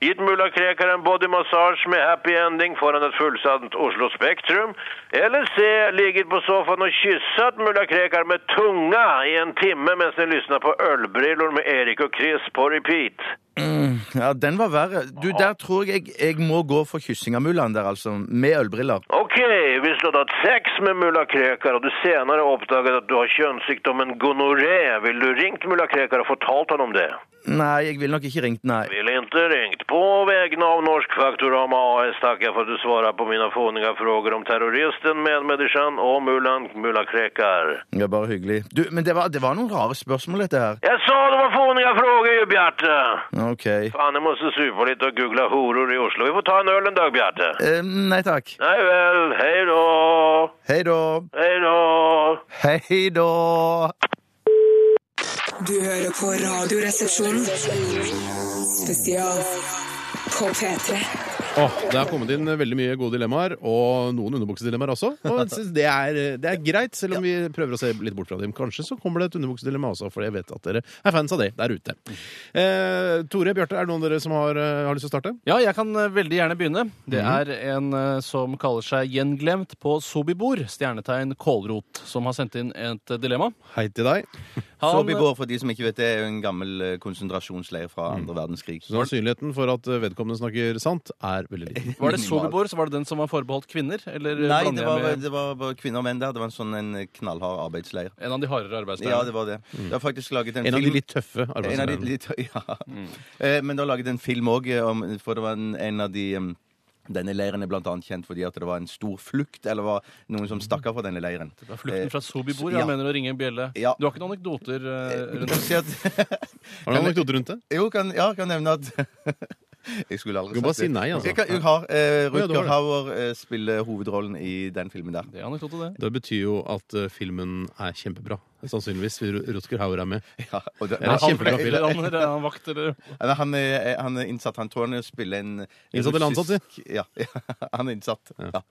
Gitt mulla Krekar en bodymassage med happy ending foran et fullsatt Oslo Spektrum. Eller C. Ligget på sofaen og kysset mulla Krekar med tunga i en timme mens ni lyssnar på ølbrillor med Erik og Chris på repeat. Ja, Den var verre. Du, Der tror jeg jeg, jeg må gå for kyssing av mullaen der, altså. Med ølbriller. Ok, hvis du hadde hatt sex med mulla Krekar, og du senere oppdaget at du har kjønnssykdommen gonoré, ville du ringt mulla Krekar og fortalt han om det? Nei, jeg ville nok ikke ringt, nei. Ville ikke ringt. På vegne av Norsk Faktorama AS takker jeg for at du svarer på mine fåninga frågor om terroristen, medmänniskan og mullan mulla Krekar. Det er bare hyggelig. Du, Men det var, det var noen rare spørsmål, dette her. Jeg sa det var fåninga frågor ju, Bjarte! OK. Fan, jeg måste supa litt og google horor i Oslo. Vi får ta en øl en dag, Bjarte. Eh, nei takk. Nei vel, hei då. Hei da. Hei då. Hei da. Du hører på Radioresepsjonen. Spesial på P3. Åh, Det har kommet inn veldig mye gode dilemmaer Og noen underbuksedilemmaer også Og jeg synes det er, det er greit Selv om vi prøver å se litt bort fra dem Kanskje så kommer det et underbuksedilemma også For jeg vet at dere er fans av det der ute eh, Tore, Bjørte, er det noen av dere som har, eh, har lyst til å starte? Ja, jeg kan eh, veldig gjerne begynne. Det Mhm. er en eh, som kaller seg Gjenglemt på Sobibor, stjernetegn kålrot, som har sendt inn et eh, dilemma. Hei til deg Han- eh, Sobibor, for de som ikke vet det, er jo en gammel eh, konsentrasjonsleir fra andre verdenskrig. Så sannsynligheten for at eh, vedkommende snakker sant, er veldig liten. Var det Minimal. Sobibor, så var det den som var forbeholdt kvinner? Eller eh, Nei, blander jeg det var, med- det var bare kvinner og menn der. Det var en sånn en knallhard arbeidsleir. en av de hardere arbeidsleirene? Ja, det var det. Det har faktisk laget en, Mm. En av de film litt tøffe En av de arbeidsgiverne. litt, ja. Eh, Men det har laget en film òg, for det var en, en av de em, denne leiren er blant annet kjent fordi at det var en stor flukt, eller var noen som stakk av fra denne leiren. Eh, Det var Flukten fra Sobibor, ja. jeg mener å ringe en bjelle. Ja. Du har ikke noen anekdoter? eh, rundt- Si at, Har du en anekdote rundt det? jo, kan, ja, kan nevne at Jeg skulle Du aldri kan bare si nei, altså. Jeg, kan, jeg har eh, ja, du har Rutger det. Hauer eh, spiller hovedrollen i den filmen der. Det er anekdote, det. Det betyr jo at eh, filmen er kjempebra. Sannsynligvis. hvis Rutger Hauer er med. Ja, og det, Ja, han, kjempebra film. Eller han, eller han vakt, eller han, han, er, eh, han er innsatt. Han tror han spiller en Innsatt eller ansatt, russisk- Ja, han er innsatt. Ja,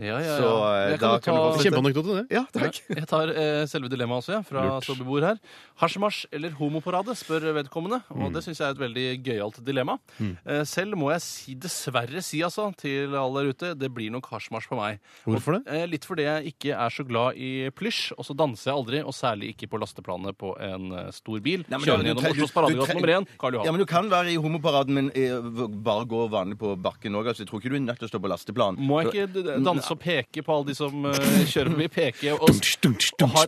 Ja, ja, Så, eh, Jeg da kan jo kan du bare ta... sette- Kjempeanekdote, det. ja takk. Jeg tar eh, selve dilemmaet også, jeg, fra Lurt. Sobibor her. Hasjmarsj eller homoparade, spør vedkommende. Og Mm. det syns jeg er et veldig gøyalt dilemma. Eh, selv må jeg si, dessverre si altså, til alle der ute, det blir nok hasjmarsj på meg. Hvorfor det? Eh, litt fordi jeg ikke er så glad i plysj, og så danser jeg aldri, og særlig ikke på lasteplanet på en eh, stor bil. Nei, men Kjører du- gjennom du- du- Oslos du- paradegate nummer én, Karl Ja, Johan. men Du kan være i homoparaden, men eh, v- bare gå vanlig på bakken òg. Altså, jeg tror ikke du er nødt til å stå på lasteplan. Må jeg ikke d- d- danse og peke på alle de som eh, kjører forbi? Peke og, og ha,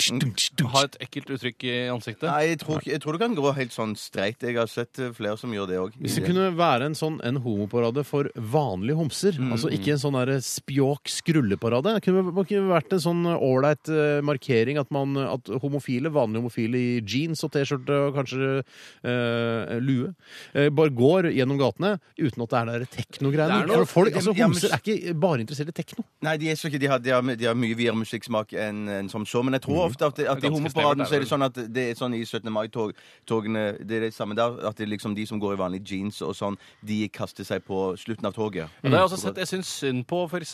ha et ekkelt uttrykk i ansiktet? Nei, jeg tror, ikke- jeg tror du kan gå helt sånn streit. Jeg har sett eh, flere som gjør det òg. Hvis det kunne være en sånn en homoparade for vanlige homser, Mm. altså ikke en sånn der spjåk skrulleparade Det kunne det kunne vært en sånn ålreit eh, markering at, man, at homofile, vanlige homofile i jeans og T-skjorte og kanskje eh, lue, eh, bare går gjennom gatene uten at det er der teknogreiene. Det er noe- For folk- Altså, Ja, men- homser er ikke bare interessert i tekno. Nei, de, er så ikke, de, har, de, har, de har mye videre musikksmak enn enn som så, men jeg tror ofte at, at i Ganske homoparaden snevert, så er er det sånn at det er sånn i 17. mai-togene Det er det samme der, at det er liksom de som går i vanlige jeans og sånn, de kaster seg på slutten av toget. Men det har Mm. jeg også sett, jeg syns synd på f.eks.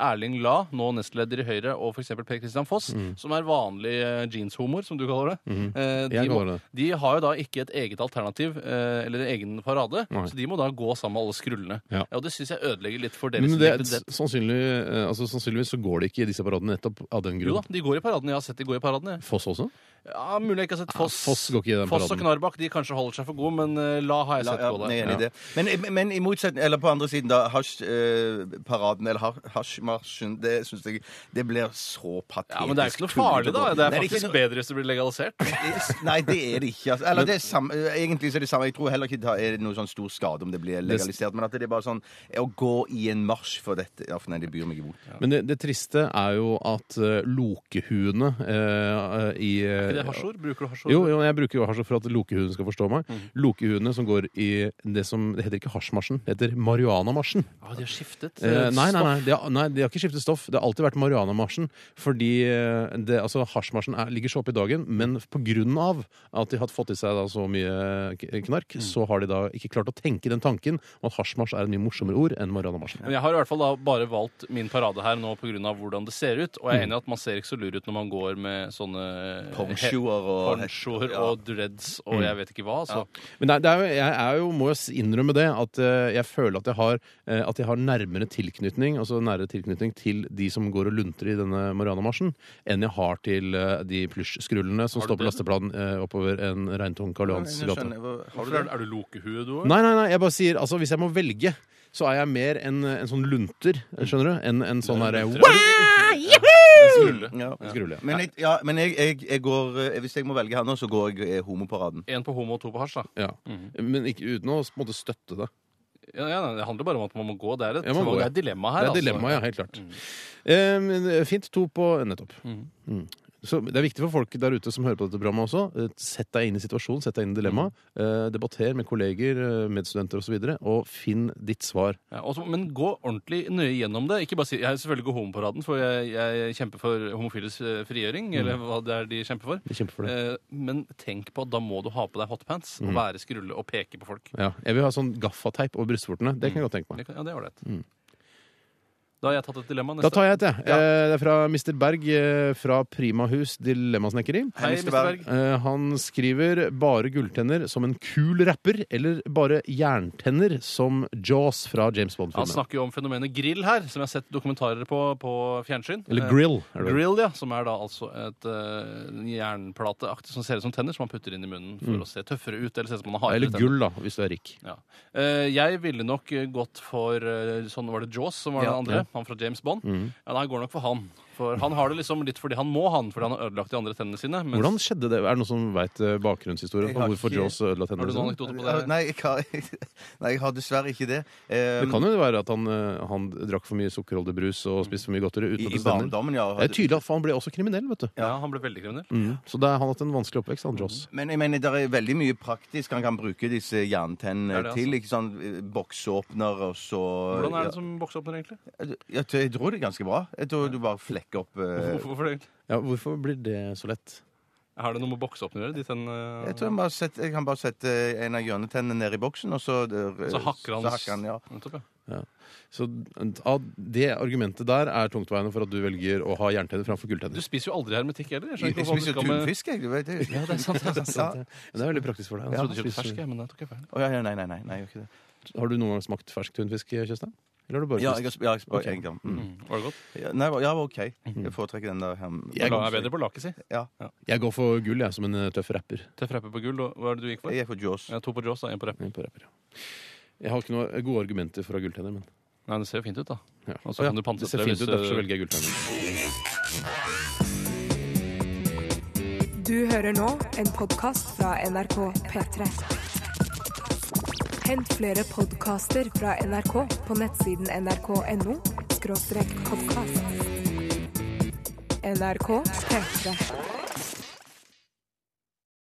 Erling La, nå nestleder i Høyre, og f.eks. Per Christian Foss, som er vanlige eh, jeanshomoer, som du kaller det. Eh, de, Mm. Jeg må, kaller det. de har jo da ikke et eget alternativ, eh, eller en egen parade, Nei. så de må da gå sammen med alle skrullene. Ja. og det syns jeg ødelegger litt for deres Men det, identitet. sannsynlig, eh, altså, sannsynligvis så går det ikke i disse paradene nettopp av den Jo da, grunn. de går i paraden. Jeg har sett de går i paraden. jeg. Foss også? Ja, Mulig jeg ikke har sett Foss. Foss går ikke i den Foss og paraden. Knarbakk de kanskje holder seg for gode, men eh, La har jeg La, sett ja, gå jeg der. er enig i det. Men, men i motsetning, eller på andre siden, da, hasjparaden, eller har- hasjmarsjen, det syns jeg Det blir så patetisk. Ja, Men det er ikke noe tullete farlig, da. å gå. Det er Nei, faktisk ikke noe- bedre hvis det blir legalisert. Nei, det er det ikke. Altså. Eller det er samme, egentlig så er det samme. Jeg tror heller ikke det er noe sånn stor skade om det blir legalisert. Men at det er bare sånn Å gå i en marsj for dette ja, for Nei, det byr meg imot. Men det, det triste er jo at eh, lokehuene eh, i Er ikke eh, det Mhm. hasjord? Bruker du hasjord? jo, jo, jeg bruker jo hasj for at lokehuen skal forstå meg. Lokehuene som går i det som det heter ikke hasjmarsjen, det heter marihuanamarsjen. Ja, de har skiftet. Eh, nei, nei, nei, de har, nei, de har ikke skiftet stoff. Det har alltid vært marihuanamarsjen. Fordi eh, det, altså, hasjmarsjen er, ligger så oppe i dagen, men på grunn av at de har fått i seg da, så mye k- knark, Mm. så har de da ikke klart å tenke den tanken om at hasjmarsj er en mye morsommere ord enn marihuanamarsjen. Men jeg har i hvert fall da bare valgt min parade her nå pga. hvordan det ser ut. Og jeg er enig i at man ser ikke så lur ut når man går med sånne Ponchoer he- og ponchoer Ja. og dreads og jeg vet ikke hva. Så. Men det er, det er jo, jeg er jo, må jo s- innrømme det, at eh, jeg føler at jeg har, eh, at jeg har nærmere tilknytning altså nærere tilknytning til de som går og lunter i denne Marianamarsjen, enn jeg har til eh, de plysjskrullene som Har du står på det? lasteplanen eh, oppover en regntung Karl Johans Jeg gate. skjønner, hva- Har du Hvorfor det? er, er du lokehue, du òg? Nei, nei, nei, jeg bare sier, altså hvis jeg må velge, så er jeg mer en, en sånn lunter, skjønner du? Enn en sånn derre Skrulle. Ja. skrulle. Men, jeg, ja, men jeg, jeg, jeg går eh, Hvis jeg må velge her nå, så går jeg eh, homoparaden. Én på homo og to på hasj, da. Ja. Men ikke, uten å på en måte støtte det. Ja, ja, nei, det handler bare om at man må gå. Det er et, Ja, man går, det ja. er et dilemma her. altså. Det er dilemmaet, ja, helt klart. Eh, men fint. To på nettopp. Mm. Så Det er viktig for folk der ute som hører på dette programmet også. eh, Sett deg inn i situasjonen, sett deg inn i dilemmaet. eh, Debatter med kolleger, eh, medstudenter osv., og, så videre, og finn ditt svar. Ja, og så- men gå ordentlig nøye gjennom det. Ikke bare si, Jeg er selvfølgelig går homoparaden, for jeg, jeg kjemper for homofiles eh, frigjøring. Eller hva det er de kjemper for. Vi kjemper for det. Eh, men tenk på at da må du ha på deg hotpants og være skrulle og peke på folk. Ja. Jeg vil ha sånn gaffateip over brystvortene. Det kan jeg godt tenke meg. Det kan- Ja, det er ålreit. Da har jeg tatt et dilemma. Da Neste. tar jeg et, jeg. Eh, Det er fra Mr. Berg eh, fra Primahus Dilemmasnekkeri. Hei, Mr. Mr. Berg. Berg. Eh, Han skriver 'bare gulltenner' som en kul rapper, eller 'bare jerntenner' som Jaws fra James Han Bond-filmen. snakker jo om fenomenet grill her, som jeg har sett dokumentarer på på fjernsyn. Eller Eh, grill. er det vel. Grill, ja, som er da altså et eh, en jernplateaktig som ser ut som tenner, som man putter inn i munnen for å se tøffere ut. Eller se ut som man har Mm. Eller hardere gull, da, hvis du er rik. tenner. Ja. Eh, jeg ville nok eh, gått for eh, sånn var det Jaws, som var den andre. Han fra James Bond. Mm. Ja, nei, jeg går nok for han. For han har det liksom litt fordi han må, han, fordi han har ødelagt de andre tennene sine. mens- Hvordan skjedde det? Er det noen som veit bakgrunnshistorien Jeg på har hvorfor ikke- Jaws ødela Har tennene du noen sine? anekdoter på det? Nei, jeg har, nei, jeg har dessverre ikke det. Eh, Det kan jo være at han, eh, han drakk for mye sukkerholdig brus og spiste for mye godteri. I, uten at I det stemmer. barndommen, ja. Det er tydelig at for han ble også kriminell, vet du. Ja, han ble veldig kriminell. Så det er, han har hatt en vanskelig oppvekst, han Joss. Men jeg mener, det er veldig mye praktisk han kan bruke disse jerntennene Er det til. altså? ikke sånn eh, Bokseåpner og så Hvordan er det som bokseåpner, egentlig? ja, jeg, jeg tror det er ganske bra. Jeg tror du bare flekker opp eh, Hvorfor det? egentlig? Ja, hvorfor blir det så lett? Har det noe med bokseåpner å gjøre? eh, De tennene Jeg tror jeg, bare setter, jeg kan bare sette en av hjørnetennene ned i boksen, og så eh, Så hakker han så hakker han ja. Nettopp, ja. Så ja, Det argumentet der er tungtveiende for at du velger å ha jerntenner framfor Du gulltenner. spiser jo aldri hermetikk heller. Jeg, skjønner Jeg ikke hvorfor spiser du jo skal med- tunfisk, jeg. Du vet det. Ja, det er sant. Det er sant. Ja. Men Det er veldig praktisk for deg. Jeg trodde Spiser du- du kjøpte fersk, jeg, men jeg tok jeg feil. Å, ja, ja, nei, nei, nei, nei, jeg gjør ikke det. Har du noen gang smakt fersk tunfisk, Tjøstheim? Eller har du bare Ja, spist? jeg, har sp- ja, jeg, sp- Ok. en gang. Mm. Var det godt? Ja, nei, ja, OK. Mm. Jeg foretrekker den der. Hem, Jeg er bedre på laket, si. Jeg går for gull, jeg, som en eh, tøff rapper. Tøff rapper på gull. Og hva er det du gikk for? Jeg er for Jaws. Ja, to på Jaws og én på rapp. Jeg er på rapper, ja. Jeg har ikke noen gode argumenter for å ha gulltenner, men Nei, det ser jo fint ut, da. ja. Og Å, så ja, kan du Det pantsette ser det fint hvis, ut, derfor så eh, velger jeg gulltenner. Du hører nå en podkast fra NRK P3. Hent flere podkaster fra NRK på nettsiden nrk.no podkast. NRK P3.